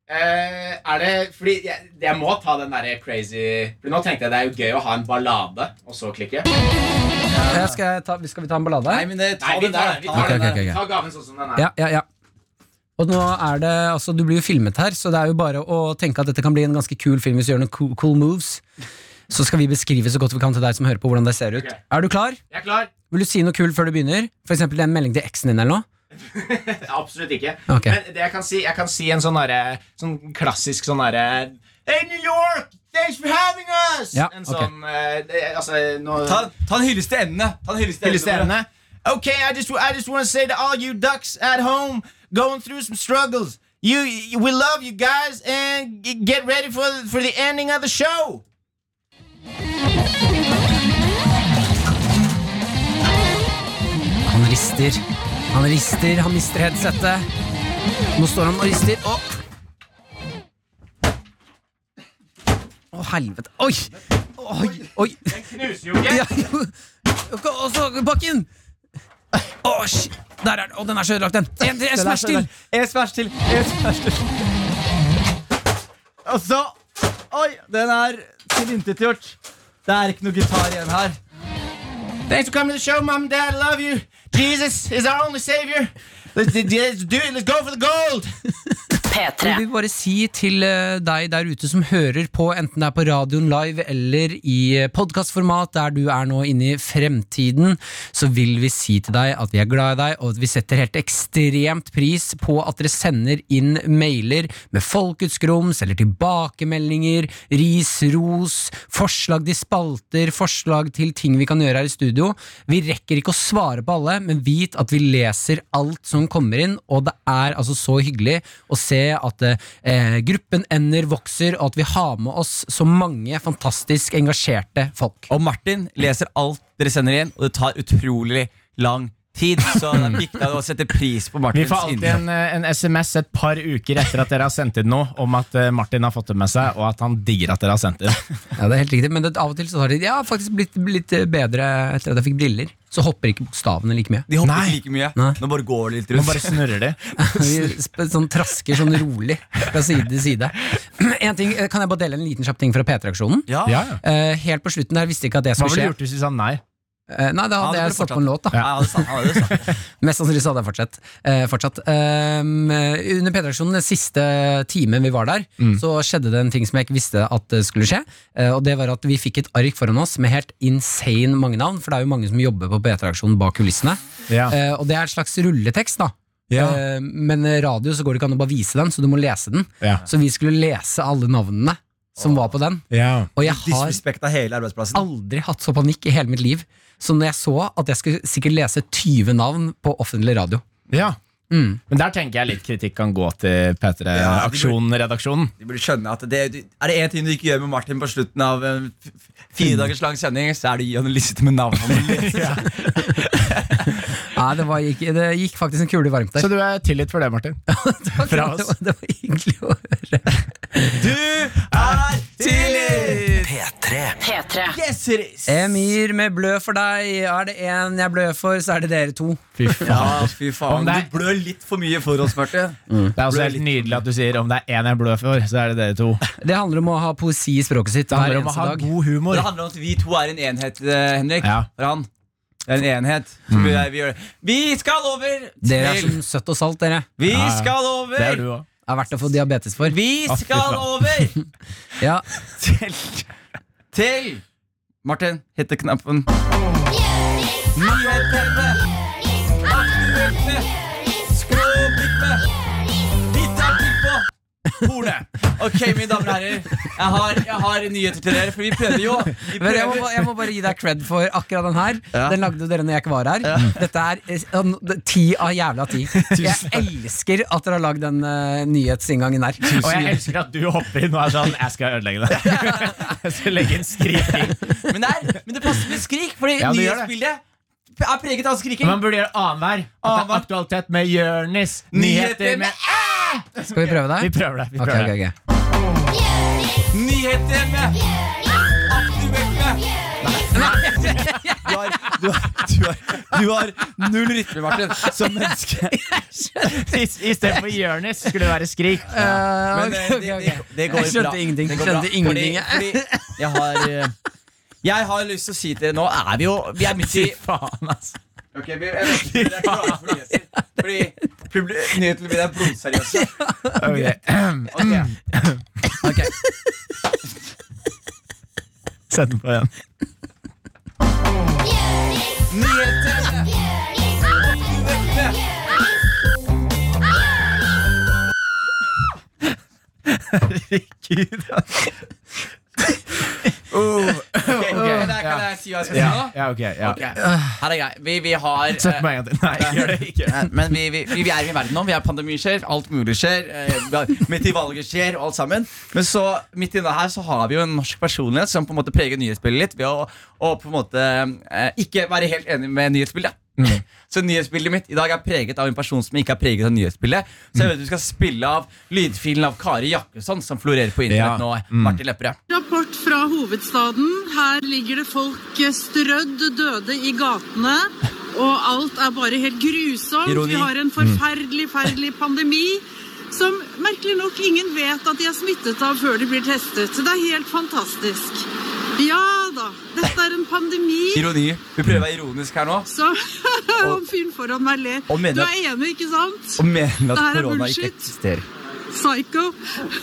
Eh, er det Fordi jeg, jeg må ta den derre crazy For nå tenkte jeg det er jo gøy å ha en ballade, og så klikke.
Eh, Skal, jeg ta, skal vi ta en ballade?
Nei, men eh, ta den der. da.
Ok, ok, ok.
Ta gaven sånn som den er.
Ja, ja, ja. Og nå er det, altså Du blir jo filmet her, så det er jo bare å tenke at dette kan bli en ganske kul film hvis du gjør noen cool, cool moves. Så skal vi beskrive så godt vi kan til deg som hører på hvordan det ser ut.
Ok.
Er du klar?
Jeg er klar.
Vil du si noe kult før du begynner? For eksempel en melding til eksen din eller noe?
Absolutt ikke.
Ok.
Men det jeg kan si, jeg kan si en sånn, derre- sånn klassisk sånn derre Hey, New York! Thanks for having us!
Ja,
en
ok.
sånn eh, det, Altså, nå
Ta, ta den hylleste endene. Ta den hylleste
Hylleste
endene.
endene. Okay, I just, I just want to say to all you ducks at home going through some struggles, you, you- we love you guys, and g- get ready for, for the ending of the show.
Han rister. Han rister. Han mister headsetet. Nå står han og rister. Å, Å, helvete. Oi! Oi! Oi.
Knuser jo ikke.
Ja, jo. Og så bakken! Å, shit. Der er den. Å, den er så ødelagt, den. En, en smash til.
En smash til. En smash til. Og så Oi, den er tilintetgjort. Det er ikke noe gitar igjen her.
Thanks for coming to the show, mom and dad. I love you. Jesus is our only savior. Let's, let's do it. Let's go for the gold.
Vi
P3.
vil bare si til eh, deg der ute som hører på, enten det er på radioen live eller i podkastformat, der du er nå inne i fremtiden, så vil vi si til deg at vi er glad i deg, og at vi setter helt ekstremt pris på at dere sender inn mailer med folkets grums eller tilbakemeldinger, ris, ros, forslag til spalter, forslag til ting vi kan gjøre her i studio. Vi rekker ikke å svare på alle, men vit at vi leser alt som kommer inn, og det er altså så hyggelig å se at eh, gruppen ender vokser, og at vi har med oss så mange fantastisk engasjerte folk.
Og Martin leser alt dere sender inn, og det tar utrolig lang tid. Så det er viktig å sette pris på
Vi
Martins
får alltid en, eh, en SMS et par uker etter at dere har sendt inn noe om at eh, Martin har fått det med seg, og at han digger at dere har sendt (laughs) inn.
Ja, det er helt riktig, men det, av og til så har de ja, faktisk blitt litt bedre etter at jeg fikk briller. Så hopper ikke bokstavene like mye.
De hopper
Nei.
ikke like mye.
Nei.
Nå bare går det litt
Man
rundt.
bare snurrer de.
Vi sp- sånn trasker sånn rolig fra side til side. (clears throat) En ting, eh, Kan jeg bare dele en liten kjapp ting fra P3-aksjonen?
(laughs)
Ja.
Ja, ja.
Eh, helt på slutten der visste jeg ikke at det
Hva
skulle
ville du
skje.
gjort hvis du sa nei?
Eh, nei, da
Ja,
hadde
det
jeg
ble
stått på
fortsatt.
en låt, da.
Ja, det er sant, ja, det er sant.
Mest sannsynlig så hadde jeg fortsatt. Eh, fortsatt. Ehm, eh, under P3-aksjonen, den siste timen vi var der,
Mm.
så skjedde det en ting som jeg ikke visste at eh, skulle skje. Eh, og det var at vi fikk et ark foran oss med helt insane mange navn, for det er jo mange som jobber på P3-aksjonen bak kulissene.
Ja.
Eh, og det er et slags rulletekst, da. Eh, men eh, radio så går det ikke an å bare vise den, så du må lese den.
Ja.
Så vi skulle lese alle navnene som var på den. Og jeg har
Disrespekt av hele arbeidsplassen.
aldri hatt så panikk i hele mitt liv som når jeg så at jeg skulle sikkert lese 20 navn på offentlig radio.
Ja.
Mm.
Men der tenker jeg litt kritikk kan gå til
Ja, de
P3-aksjonen-redaksjonen.
De burde skjønne at det, Er det én ting du ikke gjør med Martin på slutten av en f- f-
Mm.
fire dagers lang sending, så er det å gi han en liste med
(laughs)
navn. Han må lese.
Nei, det, var, gikk, det gikk faktisk en kule varmt der.
Så du er tilgitt for det,
(laughs)
Martin.
Mm.
fra oss.
Det, var, det var hyggelig å høre.
Du er tillit!
P3.
P3.
Yes, it is!
Emir med blø for deg. Er det én jeg blør for, så er det dere to.
Fy faen.
Ja, fy
Om
faen.
det er- Mm.
Du blør litt for mye for oss, Martin.
Det er også helt nydelig at du sier om det er én jeg blør for, så er det dere to.
Det handler om å ha poesi i språket sitt
Det
hver
handler om å
eneste
ha
dag.
god humor.
Det handler om at vi to er en enhet, eh, Henrik.
Ja. Mm.
For han. Det er en enhet. Så vi, vi gjør det. Vi skal over
Dere er
til
som søtt og salt, dere.
Vi
ja.
skal
Det
over!
er du òg.
Det er verdt å få diabetes for.
Vi
Å, fy
skal
faen.
over
Ja,
til Til Martin, hitteknappen. Nyhetene. Aktuelle. Skråblikkene. Hittartippet. Hornet. Ok, mine damer og herrer. Jeg har, jeg har nyheter til dere, for vi prøver jo. Vi
Men jeg, må,
prøver.
ba- jeg må bare gi deg cred for akkurat den her.
Ja.
Den lagde dere når jeg ikke var her. Dette er eh, an- det- ti av jævla
(laughs)
ti. Jeg elsker at dere har lagd den eh, nyhetsinngangen her.
Og jeg elsker at du hopper inn og er sånn Jeg skal ødelegge (laughs) det. Jeg skal legge en skriking.
Men det, er, men det passer med skrik, fordi
Ja, det gjør det.
nyhetsbildet er preget av skriking.
Men Man burde gjøre annenhver. At det er aktualitet med Jørnis. Nyheter med
Skal vi prøve
Vi
det?
prøver det. vi
Ok,
prøver
ok,
det
ok.
Nyheter med Aktuelle. Du har, du, har, du, har, du har null rytme, Martin, som menneske.
(laughs) I- Istedenfor Jørnis skulle det være (laughs) skrik.
Eh,
Men
ok, (laughs)
eh,
ok,
det,
ok.
det, det går
Jeg skjønte
bra.
ingenting.
Det går bra.
Skjønte ingenting,
Fordi, fordi jeg har eh, Jeg har lyst til å si til dere Nå er vi jo Vi er midt i
Faen, altså.
Ok, vi jeg vet ikke, dere er klare for nyheter. Fordi publi- nyhetene blir blodseriøse. Ok.
Sett den på igjen.
Ok, ok, der kan jeg si hva jeg skal si nå.
Ja, ja, ok. Ja.
Ok, Her er greit. Vi, vi har
Sett
eh,
meg igjen til. (laughs) Nei, gjør det ikke.
Nei, Men vi, vi, vi er i verden nå. Vi er pandemi skjer, alt mulig skjer. eh, vi har- Midt i valget skjer, og alt sammen. Men så, midt inne her, så har vi jo en norsk personlighet som på en måte preger nyhetsbildet litt ved å, å på en måte eh, ikke være helt enig med nyhetsbildet.
Mm.
(laughs) Så nyhetsbildet mitt i dag er preget av en person som ikke er preget av nyhetsbildet. Så
Mm.
jeg vet du skal spille av lydfilen av Kari Jakkesson, som florerer på
Ja.
internett
Mm.
nå. Martin Lepperød.
Rapport fra hovedstaden. Her ligger det folk eh, strødd døde i gatene. Og alt er bare helt grusomt.
Ironi. Mm.
Vi har en forferdelig,
(laughs)
forferdelig pandemi som merkelig nok ingen vet at de er smittet av før de blir testet. Så det er helt fantastisk. Ja da, dette er en
(laughs)
pandemi
Ironi. Vi prøver å være ironisk her nå.
(laughs) som Og fyren foran meg ler.
Og mener
Du
at-
er enig, ikke sant?
Og mener
Det
at
her er
korona ikke
bullshit.
eksisterer.
Psycho.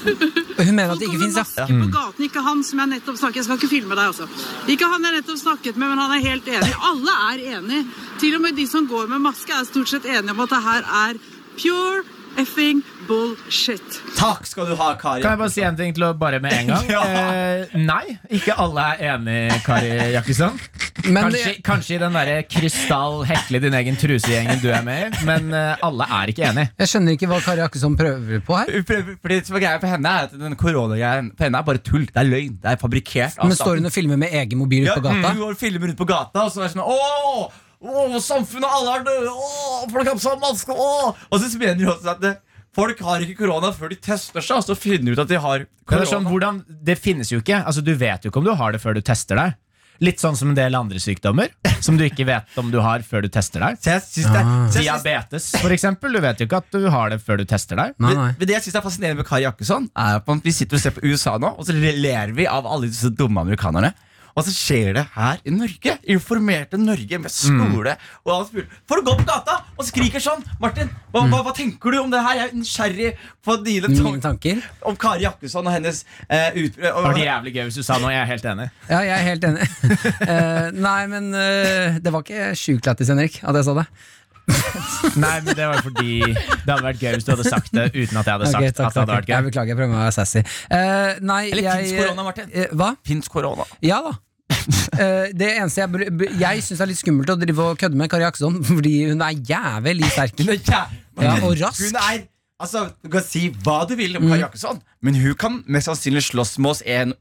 Hun mener at det
Folk
ikke
kommer
fins, ja.
maske på gaten, ikke han som jeg nettopp snakket Jeg skal ikke filme deg også. Ikke han jeg nettopp snakket med, men han er helt enig. Alle er enig. Til og med de som går med maske, er stort sett enige om at det her er pure effing bullshit.
Takk skal du ha, Kari.
Kan jeg bare si en ting til å bare med en
(laughs)
gang?
Ja.
eh, nei, ikke alle er enig, Kari Jakkesson.
Men eh,
Kanskje, kanskje i den derre krystall hekle din egen truse-gjengen du er med i, men eh, alle er ikke enig.
Jeg skjønner ikke hva Kari Akkesson prøver på her.
Fordi det som er greia for henne er at den koronagreien for henne er bare tull. Det er løgn. Det er fabrikkert. av
Men står
staten.
hun og filmer med egen mobil
ja,
på gata?
mm, Hun går og filmer rundt på gata, og så er det sånn Åh, åh samfunnet, alle er døde, åh, folk har på seg maske, åh. Og så mener hun også at det, folk har ikke korona før de tester seg, og så finner de ut at de har
Det, er sånn,
korona.
hvordan, det finnes jo ikke. Altså, du vet jo ikke om du har det før du tester deg. Litt sånn som en del andre sykdommer som du ikke vet om du har før du tester deg.
Så jeg synes det,
Ah.
så jeg synes,
Diabetes, for eksempel. Du vet jo ikke at du har det før du tester deg.
Nei,
men-
nei.
men det jeg synes er fascinerende med Kari Jakkesson, er at man- vi sitter og ser på USA nå, og så ler vi av alle disse dumme amerikanerne. Og så skjer det her i Norge. Informerte Norge med skole
Mm.
og alt mulig. Folk går på gata og skriker sånn! Martin, hva,
Mm.
hva, hva tenker du om det her? Jeg er nysgjerrig på dine
Mine
tanker
tanker?
om Kari Jakkesson og hennes eh, ut...
Det var
Og,
jævlig gøy hvis du sa noe. Jeg er helt enig.
Ja, jeg er helt enig. (laughs) Eh, nei, men eh, det var ikke sjukt lættis, Henrik, at jeg sa det.
Nei, men Det var fordi det hadde vært gøy hvis du hadde sagt det uten at jeg hadde sagt
Ok, takk,
at det hadde
takk.
vært gøy.
Jeg beklager, jeg prøver å være sassy. Eh, nei,
Eller
jeg
fins korona, Martin?
eh, hva?
Fins korona?
Ja
(laughs)
da. Eh, det eneste jeg, br- br- jeg syns er litt skummelt å drive og kødde med Kari Akson, (laughs) fordi hun er jævlig
(laughs)
sterk.
Hun er jæ-
Ja, og rask. Mm.
Hun er Altså, Du kan si hva du vil om Kari Jakkesson, men hun kan mest sannsynlig slåss med oss én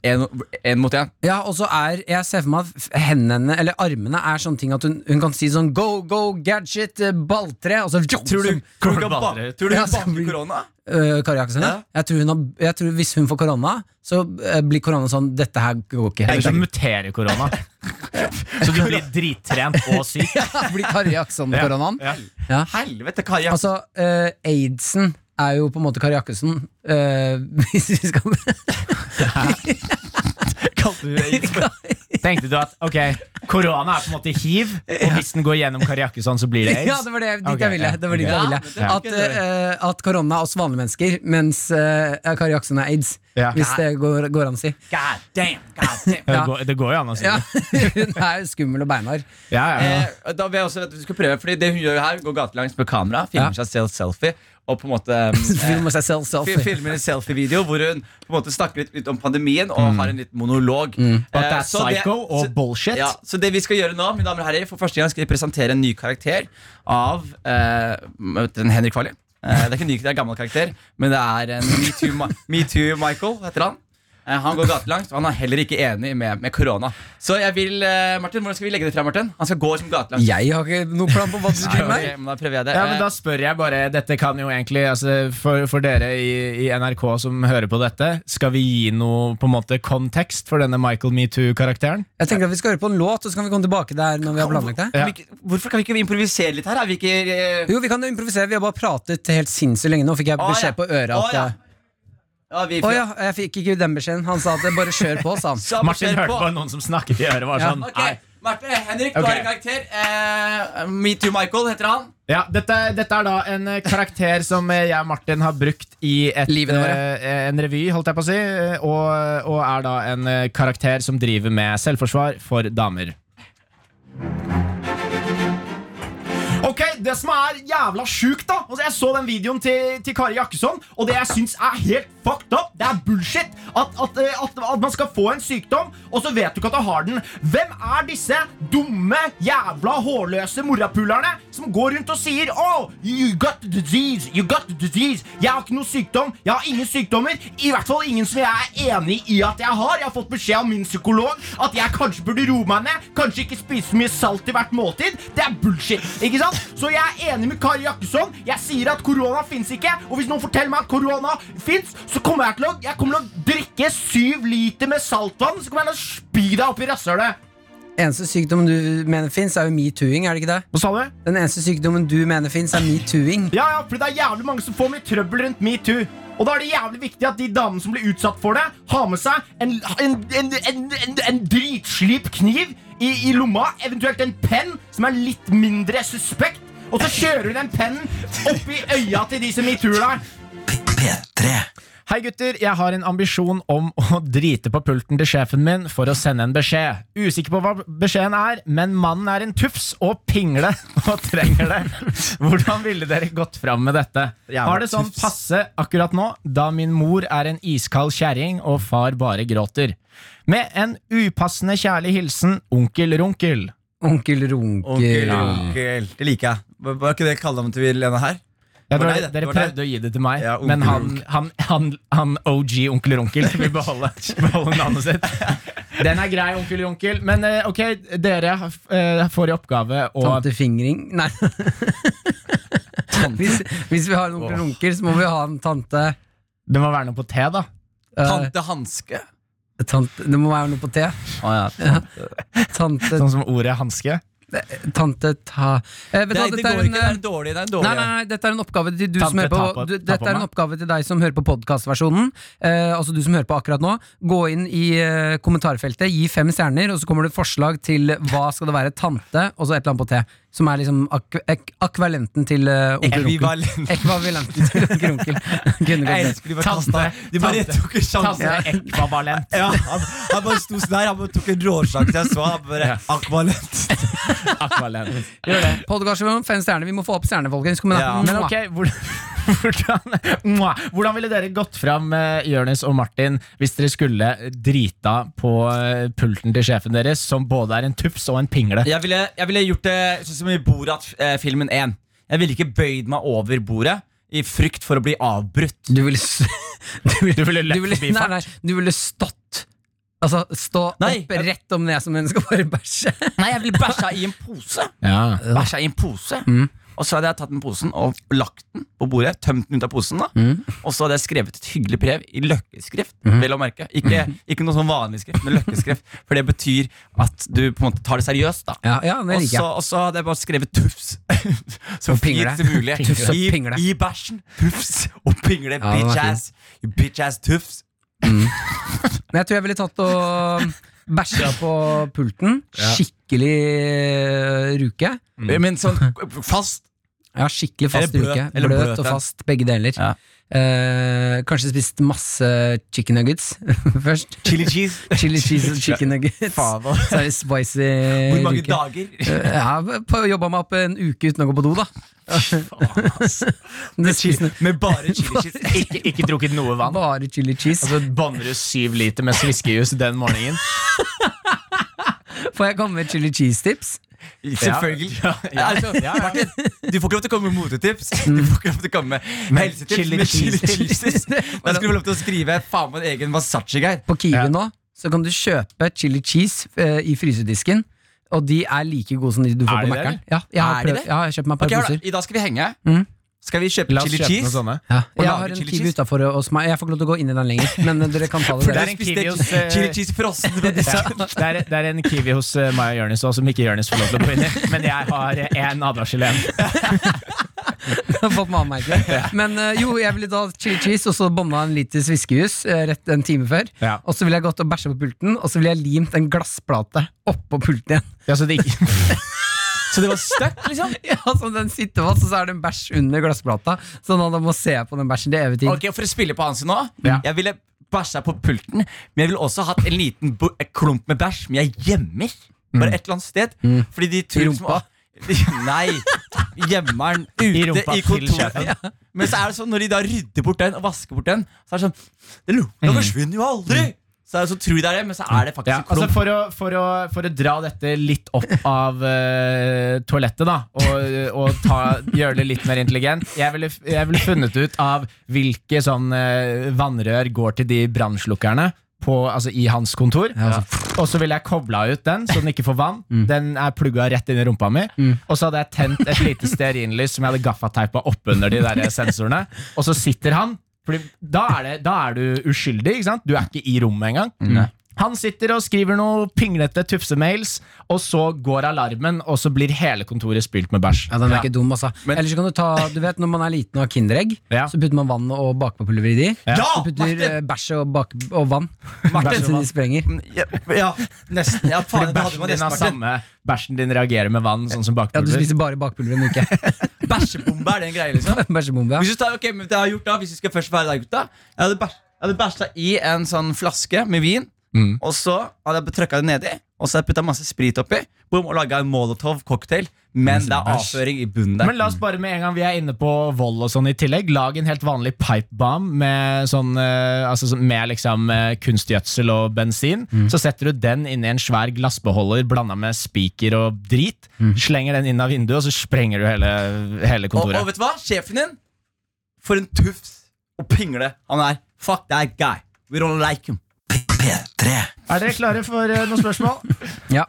mot én.
Ja, og så er, Jeg ser for meg at f- hendene, eller armene er sånne ting at hun, hun kan si sånn go, go, gadget, eh, balltre og så, (laughs)
Tror du, tror du, ikke
Kommer
ba-
bare ut.
tror du
Ja,
ikke
så
baker
blir-
korona?
Øh, Kari Akson, ja.
Ja.
jeg, tror hun har, jeg tror hvis hun får korona, så øh, blir korona sånn Dette her går ikke.
Eller
(laughs)
så muterer korona. Så du blir drittrent og syk.
blir Kari Akson-koronaen.
Ja.
Helvete, Kari. Jakkesson.
Altså, øh, aidsen er jo på en måte Kari Akson, øh, (laughs) hvis vi skal
(laughs)
Tenkte du at ok, korona er på en måte hiv, og hvis den går gjennom Kari Jakkesson, så blir det
(laughs) Ja,
aids?
det var det dit
Ok,
jeg ville.
ja,
Det var dit
ok.
jeg ville.
Ja.
At, øh, at korona er oss vanlige mennesker, mens øh, Kari Akson er aids.
Ja.
Hvis det går, går an å si.
God damn, god damn.
Ja,
Ja.
Det, går, det går jo an å si
Ja,
det.
(laughs) hun er skummel og beinhard.
Ja, ja, ja.
Eh, da vil jeg også at vi skal prøve Fordi det hun gjør her, går gatelangs med kamera, filmer seg selv selfie og på en måte (laughs) eh,
Filmer seg selv
Altså-
fi-
selfie.
Filmer en selfie-video hvor hun på en måte snakker litt, litt om pandemien og har en liten monolog.
Og Mm. at det
Eh,
er
så det-
psycho og
så-
bullshit.
Ja, så det vi skal gjøre nå, mine damer og herrer For første gang skal vi presentere en ny karakter Av eh, vet du, Henrik Farley eh, Det er ikke en ny, det er en gammel karakter Men det er en Me Too, Ma- (laughs) Me Too Michael Heter han eh, Han går gatelangs, og han er heller ikke enig med, med korona Så jeg vil, eh, Martin, hvordan skal vi legge det frem, Martin? Han skal gå som gatelangs
Jeg har ikke noen plan på hva du skulle med.
Ok, men da prøver jeg det
Ja, men Da spør jeg bare Dette kan jo egentlig altså, for, for dere i, i NRK som hører på dette, skal vi gi noe på en måte kontekst for denne Michael Metoo-karakteren?
Jeg tenker at Vi skal høre på en låt, og så kan vi komme tilbake der når vi har planlagt det.
Eh, vi- Hvorfor kan vi ikke improvisere litt her? Er vi ikke... eh,
Jo, vi kan improvisere. Vi har bare pratet helt sinnssykt lenge nå. Fikk jeg
Å, Ah, ja.
beskjed på øret
Å,
at
ja.
jeg-
Ja, vi
Å ja, jeg fikk ikke den beskjeden. Han sa at det bare kjør på, sa han.
Så
Martin
kjør
hørte på noen som snakket i øret. Var
Ja,
sånn,
Ok,
nei.
Marte, Henrik, du
Ok.
har en karakter. Eh, Me Too Michael heter han.
Ja, dette, dette er da en eh, karakter som eh, jeg og Martin har brukt i et,
Livene våre.
eh, en revy, holdt jeg på å si. eh, Og, og er da en eh, karakter som driver med selvforsvar for damer. Ok, Det som er jævla sjukt, da altså, Jeg så den videoen til, til Kari Jakkesson, og det jeg syns er helt fucked up, det er bullshit. At, at, eh, at, at man skal få en sykdom, og så vet du ikke at du har den. Hvem er disse dumme, jævla hårløse morapulerne som går rundt og sier Oh, you got the disease, you got the disease. Jeg har ikke noe sykdom, jeg har ingen sykdommer. I hvert fall ingen som jeg er enig i at jeg har. Jeg har fått beskjed av min psykolog at jeg kanskje burde roe meg ned, kanskje ikke spise så mye salt i hvert måltid. Det er bullshit. ikke sant? Så jeg er enig med Kari Jakkesson. Jeg sier at korona fins ikke. Og hvis noen forteller meg at korona fins, så kommer jeg til å Jeg kommer til å drikke syv liter med saltvann, så kommer jeg til å spy deg opp i rasshølet.
Eneste sykdommen du mener fins, er jo metooing, er det ikke det?
Hva sa du?
Den eneste sykdommen du mener fins, er metooing.
Ja, ja, fordi det er jævlig mange som får mye trøbbel rundt metoo. Og da er det jævlig viktig at de damene som blir utsatt for det, har med seg en, en, en, en, en, en dritslip kniv i, i lomma, eventuelt en penn som er litt mindre suspekt, og så kjører hun den pennen oppi øya til de som metooer deg.
P3.
Hei gutter, jeg har en ambisjon om (laughs) å drite på pulten til sjefen min for å sende en beskjed. Usikker på hva beskjeden er, men mannen er en tufs og pingle (laughs) og trenger det. Hvordan ville dere gått fram med dette?
Jævla
Har det sånn
tufs.
passe akkurat nå, da min mor er en iskald kjerring og far bare gråter. Med en upassende kjærlig hilsen onkel Runkel.
Onkel Runkel.
Onkel, onkel. Det liker jeg. Var var ikke det kallenavnet til Lene (laughs) her?
Ja, det
var
var,
deg, det.
dere
Det var deg.
prøvde å gi det til meg,
Ja, onkel
men han,
Runkel.
han, han, han OG onkel Runkel
(laughs)
vil beholde, beholde navnet sitt. (laughs) Den er grei, onkel Runkel. Men eh, ok, dere eh, får i oppgave å
Tantefingring? Nei. (laughs) hvis, hvis vi har en onkel Runkel, så må vi ha en tante
Det må være noe på T, da.
eh,
Tante Hanske.
Tante, det må være noe på T. Tante
Sånn som ordet hanske.
Tante ta eh, Vet du
Nei,
hva,
det
dette
går
er en
ikke. Det er
eh,
en dårlig. Det er
Nei,
en dårlig.
nei, nei, dette er en oppgave til du
Tante,
som hører på,
ta på-
du,
ta på
Dette er en
meg.
oppgave til deg som hører på podkastversjonen. Eh, altså du som hører på akkurat nå. Gå inn i eh, kommentarfeltet, gi fem stjerner, og så kommer det et forslag til hva skal det være tante, og så et eller annet på T. Som er liksom ak ek akvalenten til eh, onkel Runkel.
Ekvivalent.
Ekvivalenten til onkel Runkel. Kunne
Jeg
gått det.
elsker de bare kasta. De bare
Tante.
tok en sjanse.
Tante (laughs) ekvavalent.
Ja, han, han bare sto sånn her, han bare tok en råsjanse. Jeg så han bare
Ja.
Akvalent.
Akvalent.
Podkastversjonen, fem stjerner. Vi må få opp stjernene, folkens. Kom igjen,
Ja.
da.
Men ok, hvordan, (laughs) hvordan, Mwah. hvordan ville dere gått fram, eh, Jonis og Martin, hvis dere skulle drita på eh, pulten til sjefen deres, som både er en tufs og en pingle?
Jeg ville, jeg ville gjort det sånn som i Borat-filmen 1. Jeg ville ikke bøyd meg over bordet i frykt for å bli avbrutt.
(laughs) Du ville s- Du ville,
(laughs) Du ville løpt
du ville, (laughs)
forbi
nei,
fart.
nei, du ville stått. Altså stå
Nei,
opp rett om ned som hun skal bare bæsje.
Nei, jeg ville bæsja i en pose.
Ja.
Bæsja i en pose Og så hadde jeg tatt den posen og lagt den på bordet. Tømt den ut av posen. da Og så hadde jeg skrevet et hyggelig brev i løkkeskrift. Vel å merke Ikke, ikke noe sånn vanlig skrift, men løkkeskrift. For det betyr at du på en måte tar det seriøst. da
Ja, ja, det
og
liker
så,
jeg.
og så hadde jeg bare skrevet tufs. (laughs) Så
Og pingle.
fint som mulig.
Pingle. Tufs og
I,
pingle.
I bæsjen. Tufs og pingle.
var
bitch
fint.
ass. You Bitch ass tufs.
Men jeg tror jeg ville tatt og bæsja på pulten. Skikkelig eh, ruke.
Mm.
Men sånn fast.
Ja, skikkelig fast
Eller bløt,
ruke.
eller
Bløt,
bløt,
og
ja.
fast, begge deler.
Ja.
Eh, kanskje spist masse chicken nuggets (laughs) først.
Chili
(laughs)
cheese.
Chili cheese og chicken nuggets.
(laughs) Faen, hva?
Så er det spicy
Hvor mange
ruke.
dager?
Eh, Jeg har jobba meg opp en uke uten å gå på do, da. (laughs) Det spiser-
Med bare
(laughs)
chili cheese. sånn
Ikke, ikke drukket noe vann.
Bare chili cheese.
Altså-
Så banner du syv liter med sviskejus den morgenen.
Får jeg komme med chili cheese-tips?
Selvfølgelig.
Ja, ja. Mm.
Altså, Martin, du får ikke lov til å komme med motetips. Du får ikke lov til å komme med helsetips.
chili
Men chili
cheese. (laughs)
cheese. Da skal du få lov til å skrive faen meg en egen wasachi-geir.
På Kiwi
Ja.
nå så kan du kjøpe chili cheese eh, i frysedisken. Og de er like gode som de du
Er
får
de
på
det,
Mækkern. Ja, jeg har
Er de
prøvd-
det?
ja, jeg har kjøpt meg et par
Ok, hør da.
poser.
I dag skal vi henge.
Mm.
Skal vi kjøpe
La oss
chili
kjøpe noen
cheese?
sånne.
Ja,
Og
jeg
lager
har en
chili
Kiwi
cheese?
utafor hos meg. Jeg får ikke lov til å gå inn i den lenger, men eh, dere kan ta det
Det
dere.
er
er
en
spiste
Kiwi hos, eh,
chili cheese frossen
(laughs)
fra
Ja.
disken.
Det, er, det er en kiwi hos eh, meg og Jonis også, som ikke Jonis får lov til å gå inn i. Men jeg har én advarsel igjen.
Jeg har fått matmerke.
(laughs)
Men eh, jo, jeg ville da chili cheese og så bånda en liter sviskejus eh, rett en time før.
Ja.
Og så ville jeg gått og bæsja på pulten, og så ville jeg limt en glassplate oppå pulten igjen. (laughs)
Ja, så det ikke
Så det var stuck,
(laughs)
liksom?
Ja, Som den sitter fast, og så er det en bæsj under glassplata. Sånn at han må se på den bæsjen til evig tid.
Ok, For å spille på Hansen nå
Ja.
Jeg ville bæsja på pulten, men jeg ville også hatt en liten bo- en klump med bæsj, men jeg gjemmer.
Mm.
Bare et eller annet sted. Fordi de tror
I
liksom- Nei. Gjemmer den
(laughs) I
ute
rumpa
i,
til
kontoret. Men så er det sånn når de da rydder bort den og vasker bort den, så er det sånn Det lukta forsvinner jo aldri! Så, er det- så tror de det er det, men så er det faktisk
Mm. ja,
en
altså
klump.
for, å, for, å, for å dra dette litt opp av eh, toalettet, da, og, og ta, gjøre det litt mer intelligent Jeg ville, jeg ville funnet ut av hvilke sånn eh, vannrør går til de brannslukkerne. På, altså I hans kontor. Og så ville jeg kobla ut den, så den ikke får vann. Den er plugga rett inn i rumpa mi. Og så hadde jeg tent et lite stearinlys som jeg hadde gaffateipa oppunder de der eh, sensorene. Og så sitter han. Fordi da er, det, da er du uskyldig. ikke sant? Du er ikke i rommet engang. Han sitter og skriver noen pinglete tufsemails, og så går alarmen, og så blir hele kontoret spylt med bæsj.
Ja, den er ikke dum, altså. Ellers kan du ta, du vet Når man er liten og har Kinderegg,
Ja.
så putter man vann og bakepulver i de.
Ja,
så putter
Martin!
eh, bæsj og, bak og vann.
Martin!
Til de sprenger.
Ja, ja nesten. Ja,
Fordi
faen, det hadde
bæsjen
man
din,
nesten
har
vært en
samme, bæsjen din reagerer med vann, sånn som
Ja, du
bakpulver.
spiser bare bakepulver en uke. (laughs)
bæsjebombe. Er det en greie, liksom?
Bæsjebombe. ja.
Hvis du tar, ok, men det jeg har gjort da Hvis vi skal først være der, gutta Jeg hadde, bæs, jeg hadde bæsja i en sånn flaske med vin,
Mm.
og så hadde jeg trykka det nedi, og så hadde jeg putta masse sprit oppi, boom, og laga en molotov-cocktail. Men det er avføring i bunnen der.
Men la oss bare med en gang vi er inne på vold og sånn i tillegg, lag en helt vanlig pipe bomb med, sånn, eh, altså, sånn- med liksom, eh, kunstgjødsel og bensin.
Mm.
Så setter du den inni en svær glassbeholder blanda med spiker og drit. Slenger den inn av vinduet, og så sprenger du hele, hele
Mm. og,
kontoret.
og vet du hva? Sjefen din, for en tufs og pingle han er. Fuck that guy. We don't like him.
Er dere klare for eh, noen spørsmål?
(laughs) Ja.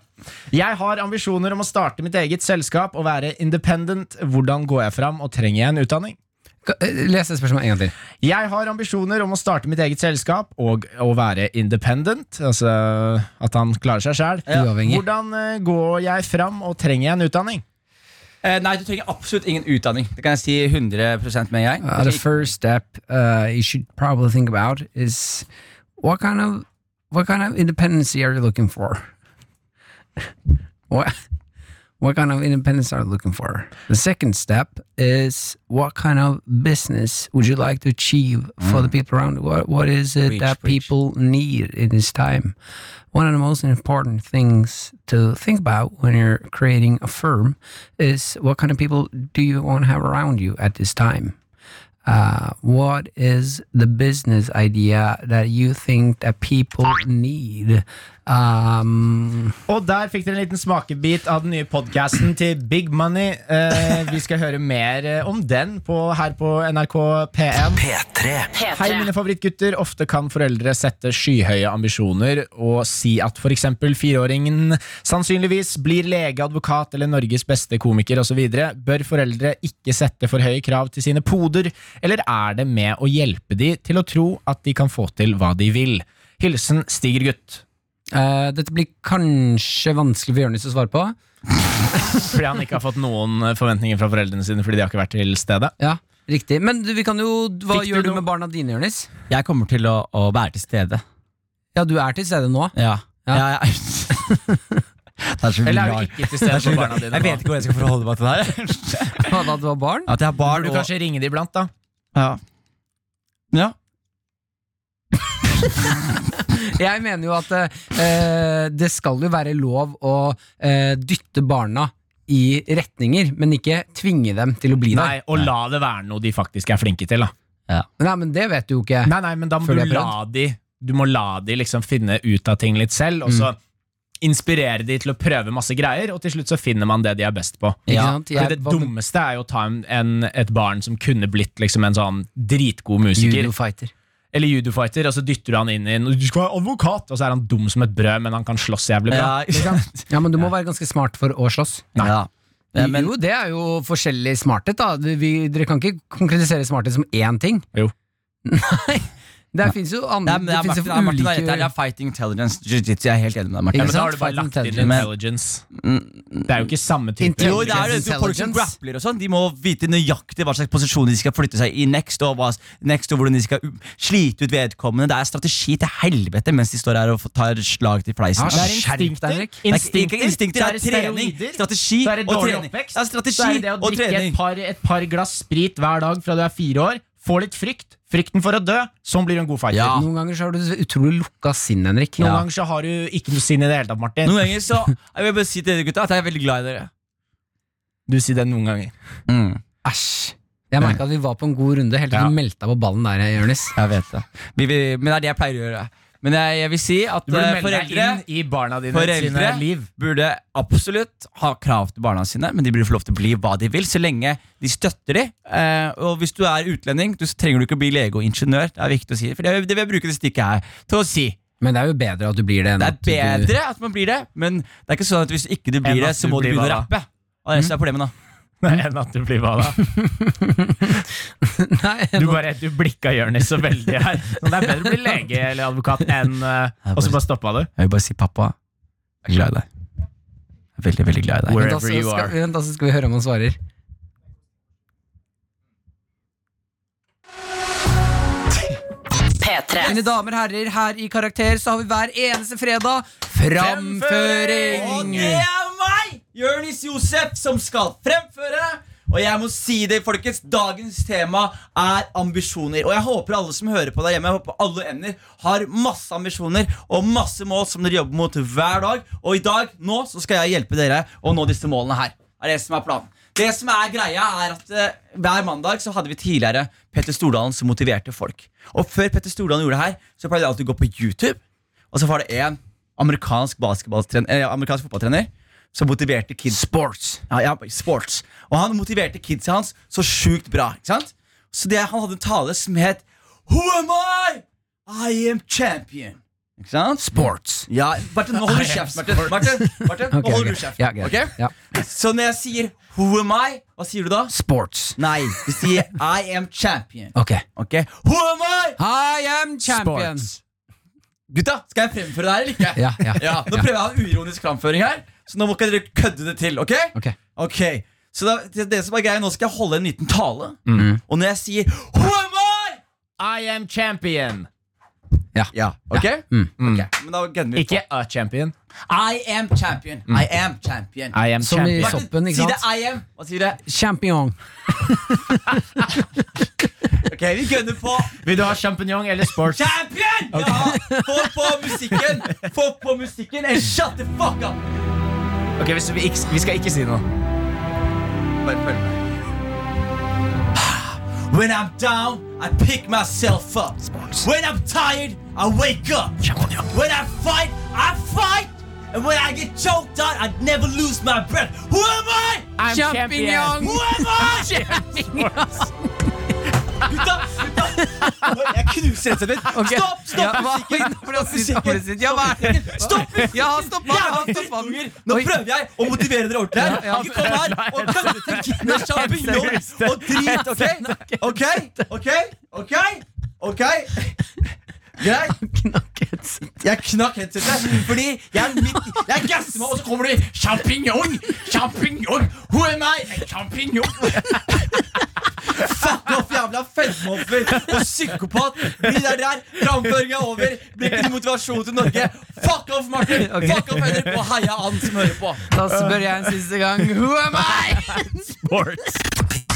Jeg har ambisjoner om å starte mitt eget selskap og være independent. Hvordan går jeg fram, og trenger jeg en utdanning?
Ka- eh, Les det spørsmålet en gang til.
Jeg har ambisjoner om å starte mitt eget selskap og å være independent. Altså at han klarer seg sjæl.
Uavhengig.
Hvordan eh, går jeg fram, og trenger jeg en utdanning?
Eh, nei, du trenger absolutt ingen utdanning. Det kan jeg si 100 med en gang.
Uh, the first step uh, you should probably think about is what kind of what kind of independency are you looking for? (laughs) what what kind of independence are you looking for? The second step is what kind of business would you like to achieve for the people around? you? What what is it that people need in this time? One of the most important things to think about when you're creating a firm is what kind of people do you want to have around you at this time? uh, what is the business idea that you think that people need? Um,
Og der fikk dere en liten smakebit av den nye podkasten til Big Money. Eh, vi skal høre mer eh, om den på, her på NRK P1.
P3.
P3.
Hei, mine favorittgutter. Ofte kan foreldre sette skyhøye ambisjoner og si at f.eks. fireåringen sannsynligvis blir lege, advokat eller Norges beste komiker osv. Bør foreldre ikke sette for høye krav til sine poder, eller er det med å hjelpe de til å tro at de kan få til hva de vil? Hilsen Stiger-gutt.
eh, dette blir kanskje vanskelig for Jonis å svare på.
Fordi han ikke har fått noen eh, forventninger fra foreldrene sine fordi de har ikke vært til stede.
Ja, riktig. Men du, vi kan jo, hva
Fikk du
gjør du
noe-
med barna dine, Jonis?
Jeg kommer til å, å være til stede.
Ja, du er til stede nå. (laughs)
Ja.
Ja.
Ja, (laughs) ja. Det er så
Eller er du ikke til stede for barna dine?
Jeg vet ikke hvordan jeg skal forholde meg til det her.
Hva da du var barn?
At jeg har barn
Bør du
og
kanskje ringe de iblant, da?
ja. ja.
Jeg mener jo at eh, det skal jo være lov å eh, dytte barna i retninger, men ikke tvinge dem til å bli
Nei,
der.
og la det være noe de faktisk er flinke til, da.
Nei, men det vet du jo ikke.
Nei, nei, men da må
Føler
du
jeg
la de Du må la de liksom finne ut av ting litt selv, og så Mm. inspirere de til å prøve masse greier, og til slutt så finner man det de er best på.
Ikke sant?
Fordi
Jeg
det
var
dummeste er jo å ta en, en, et barn som kunne blitt liksom en sånn dritgod musiker,
judofighter.
eller judofighter, og så dytter du han inn i en Du skal være advokat! Og så er han dum som et brød, men han kan slåss jævlig bra.
(laughs) Ja, ikke sant?
Ja, men du må være ganske smart for å slåss.
Ja. Ja, men,
jo, det er jo forskjellig
(laughs)
smarthet, da. Vi, dere kan ikke konkretisere smarthet som én ting.
Jo.
Nei. Det fins jo andre
Nei, men det er
det finnes jo
Martin, det er Martin, det er,
ulike
rett her. det er fighting intelligence jiu-jitsu. Jeg er helt enig med deg, Martin.
Ja,
Ikke
men da
sant?
har du bare lagt inn
Fighting
intelligence. Det er jo ikke samme type.
Intelligence.
Jo, det er det. Du, folk som
Intelligence.
grappler og sånn, de må vite nøyaktig hva slags posisjon de skal flytte seg i next, og, hva, next, og hvordan de skal u- slite ut vedkommende. Det er strategi til helvete mens de står her og f- tar slag til fleisen. Altså,
Ja,
Det er
Skjerp deg,
instinkter.
Henrik.
Det er ikke- ikke instinkter, det er trening,
steroider.
strategi
Så er det
og
dårlig
trening.
oppvekst.
Det er strategi
så er det det å
og
drikke
trening.
et par, et par glass sprit hver dag fra du er fire år. Få litt frykt. Frykten for å dø. Sånn blir du en god fighter.
Ja.
Noen ganger så har du så utrolig lukka sinn, Henrik.
Noen ganger så har du ikke noe sinn i det hele tatt, Martin.
Noen ganger så Jeg vil bare si til dere gutta at jeg er veldig glad i dere.
Du sier det noen ganger.
Æsj. Jeg merka at vi var på en god runde helt til
Ja.
du meldte deg på ballen der, Jonis.
Jeg vet det. Vi, vi, men det er det jeg pleier å gjøre. Men jeg, jeg vil si at
Du burde
eh,
melde deg
foreldre
inn i barna dine sine
Foreldre
liv. (laughs)
burde absolutt ha krav til barna sine, men de burde få lov til å bli hva de vil, så lenge de støtter de. Eh, og hvis du er utlending, du, så trenger du ikke å bli lege og ingeniør. Det er viktig å si, for det, det vil jeg bruke det stikket her til å si.
Men det er jo bedre at du blir det enn
Det
at
er bedre at man blir det, men det er ikke sånn at hvis ikke du
Enn
blir det,
at
så
du
må du
blir
begynne
hva da?
å
Mm.
rappe. Og det er problemet da
Enn at du blir hva da?
(laughs)
du (laughs) Nei,
Du bare du blikka Jonis så veldig her. Så det er bedre å bli lege eller advokat enn eh, Og så bare stoppa du.
Jeg vil bare si pappa, jeg er glad i deg. Jeg er veldig, veldig glad i deg.
Word.
Vent, da,
Wherever
så
you
skal,
are.
vent, da, så skal vi høre om han svarer.
P3.
Mine damer og herrer, her i Karakter så har vi hver eneste fredag framføring!
Og det er meg, Jonis Josef, som skal fremføre. Og jeg må si det, folkens, dagens tema er ambisjoner. Og jeg håper alle som hører på der hjemme, jeg håper alle ender, har masse ambisjoner og masse mål som dere jobber mot hver dag. Og i dag, nå, så skal jeg hjelpe dere å nå disse målene her. Er det som er planen. Det som er greia, er at eh, hver mandag så hadde vi tidligere Petter Stordalen som motiverte folk. Og før Petter Stordalen gjorde det her, så pleide jeg alltid å gå på YouTube. Og så var det en amerikansk, basketballtren- eh, amerikansk fotballtrener som motiverte kids. Sports. Ja, ja, sports. Og han motiverte kidsa hans så sjukt bra. ikke sant? Så det, han hadde en tale som het Who am I? I am champion. Ikke sant? Sports. Ja, Martin, nå holder du kjeft. Martin, Martin, Martin
(laughs) Ok,
nå holder
ok.
du kjeft.
Ja, greit.
ok?
Ja.
Så når jeg sier Who am I, hva sier du da?
Sports.
Nei, du sier I am champion.
Ok.
Ok? Who am I?
I am champion!
Gutta, skal jeg fremføre det her eller ikke?
Ja, ja.
ja, Nå
Ja.
prøver jeg å ha en uironisk framføring her, så nå må ikke dere kødde det til. ok?
Ok.
Ok, Så da, det, det som er greia, nå skal jeg holde en liten tale, og når jeg sier Who am I?
I am champion.
Ja, ok? Ok, Men da gønner vi på.
Ikke a champion.
I am champion. I am champion.
I am
Som i
champion.
soppen, ikke
si det
sant?
I am. Hva sier det?
Champion.
Ok, vi gønner på
Vil du ha champignon eller sports?
champion! Ja, få på musikken! Få på musikken and shut the fuck up!
Ok, hvis vi, ikke, vi skal ikke si noe.
Bare følg med. (sighs) When I'm down, I pick myself up. When I'm tired, I wake up. When I fight, I fight. And when I get choked out, I never lose my breath. Who am I?
I'm
Champignon!
Who am I? Gutta, gutta. Jeg knuser headsetet mitt.
Ok.
Stopp,
Ja, hva-
stopp musikken.
Nå ble han sint, nå ble han sint. Ja, hva er det?
Stopp musikken.
Ja, han stoppa,
Jævla
han stoppa.
drittunger. Nå prøver jeg å motivere dere ordentlig her. Ikke kom her og kaste tenkende med sjampinjong og drit, OK? OK? OK? OK? Ok? Greit? Jeg knakk headsetet fordi jeg er midt i- Jeg gasser meg, og så kommer de Sjampinjong! Sjampinjong! Who am I? Sjampinjong! Fuck off, jævla fedmeoffer og psykopat. De der der, framføringa er over. Blir ikke noe motivasjon til Norge. Fuck off, Martin! Fuck off, Henrik, og heia han som hører på.
Da spør jeg en siste gang. Who am I?
P3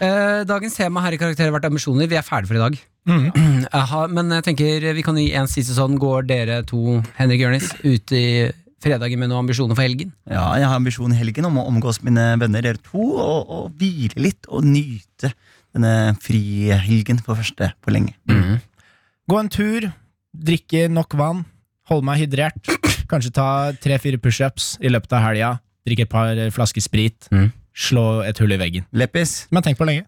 Eh, dagens tema her i Karakter har vært ambisjoner. Vi er ferdig for i dag. Jeg har- men jeg tenker vi kan gi en siste sånn. Går dere to, Henrik Jørnis, ut i fredagen med noen ambisjoner for helgen?
Ja, jeg har ambisjonen i helgen om å omgås mine venner, dere to, og, og hvile litt og nyte denne frihelgen for første på lenge.
Gå en tur, drikke nok vann, holde meg hydrert. Kanskje ta tre-fire pushups i løpet av helga. Drikke et par flasker sprit.
Mm.
Slå et hull i veggen.
Leppis.
Som jeg har tenkt på lenge.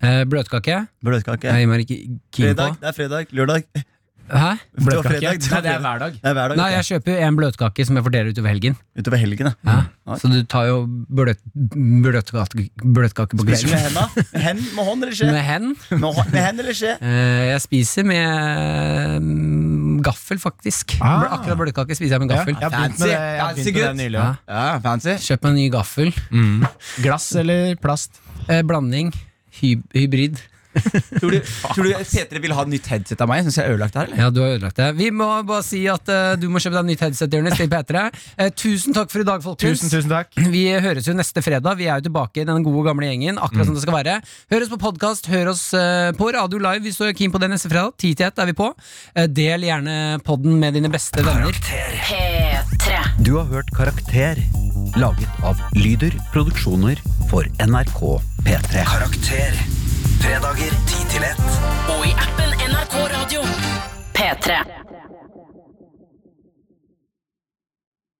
Eh, bløtkake?
Bløtkake.
Jeg gir meg ikke keen på.
Fredag, det er fredag. Lørdag.
Hæ?
Det var
Bløtkake?
fredag,
Nei, det er
det var Mm. fredag.
hver dag.
Det er hver dag.
Nei,
vet
jeg kjøper jo en bløtkake som jeg får dele utover helgen.
du. Utover helgen, ja. Ja.
Så du tar jo bløt, bløtkake, bløtkake på
Spiser
kvelden.
du med henda? Hen med hånd eller skje?
Med hen.
Med, hå- med hen eller skje?
Eh, Jeg spiser med mm, gaffel, faktisk.
Ah.
Blø- Akkurat bløtkake spiser jeg med
Ja,
gaffel.
jeg har begynt med det, jeg har
Fancy
begynt med det nylig.
gutt.
Ja.
også.
Ja, fancy.
Kjøp meg en ny gaffel.
Glass eller plast?
Eh, blanding. Hy hybrid.
Tror du, tror du Petre vil ha et nytt headset av meg? Syns jeg er ødelagt her, eller?
Ja, du har ødelagt det. Vi må bare si at eh, du må kjøpe deg nytt headset, Jonis, til P3. Eh, tusen takk for i dag, folkens.
Tusen, tusen takk.
Vi høres jo neste fredag. Vi er jo tilbake i den gode gamle gjengen. Akkurat som det skal være Hør oss på podkast, hør oss eh, på Radio Live. Vi står keen på det neste fredag. 10 til 1 er vi på. Eh, del gjerne podden med dine beste venner.
P3.
Du har hørt Karakter, laget av Lyder Produksjoner for NRK P3. Karakter. Fredager 10 til 1.
Og i appen NRK Radio. P3.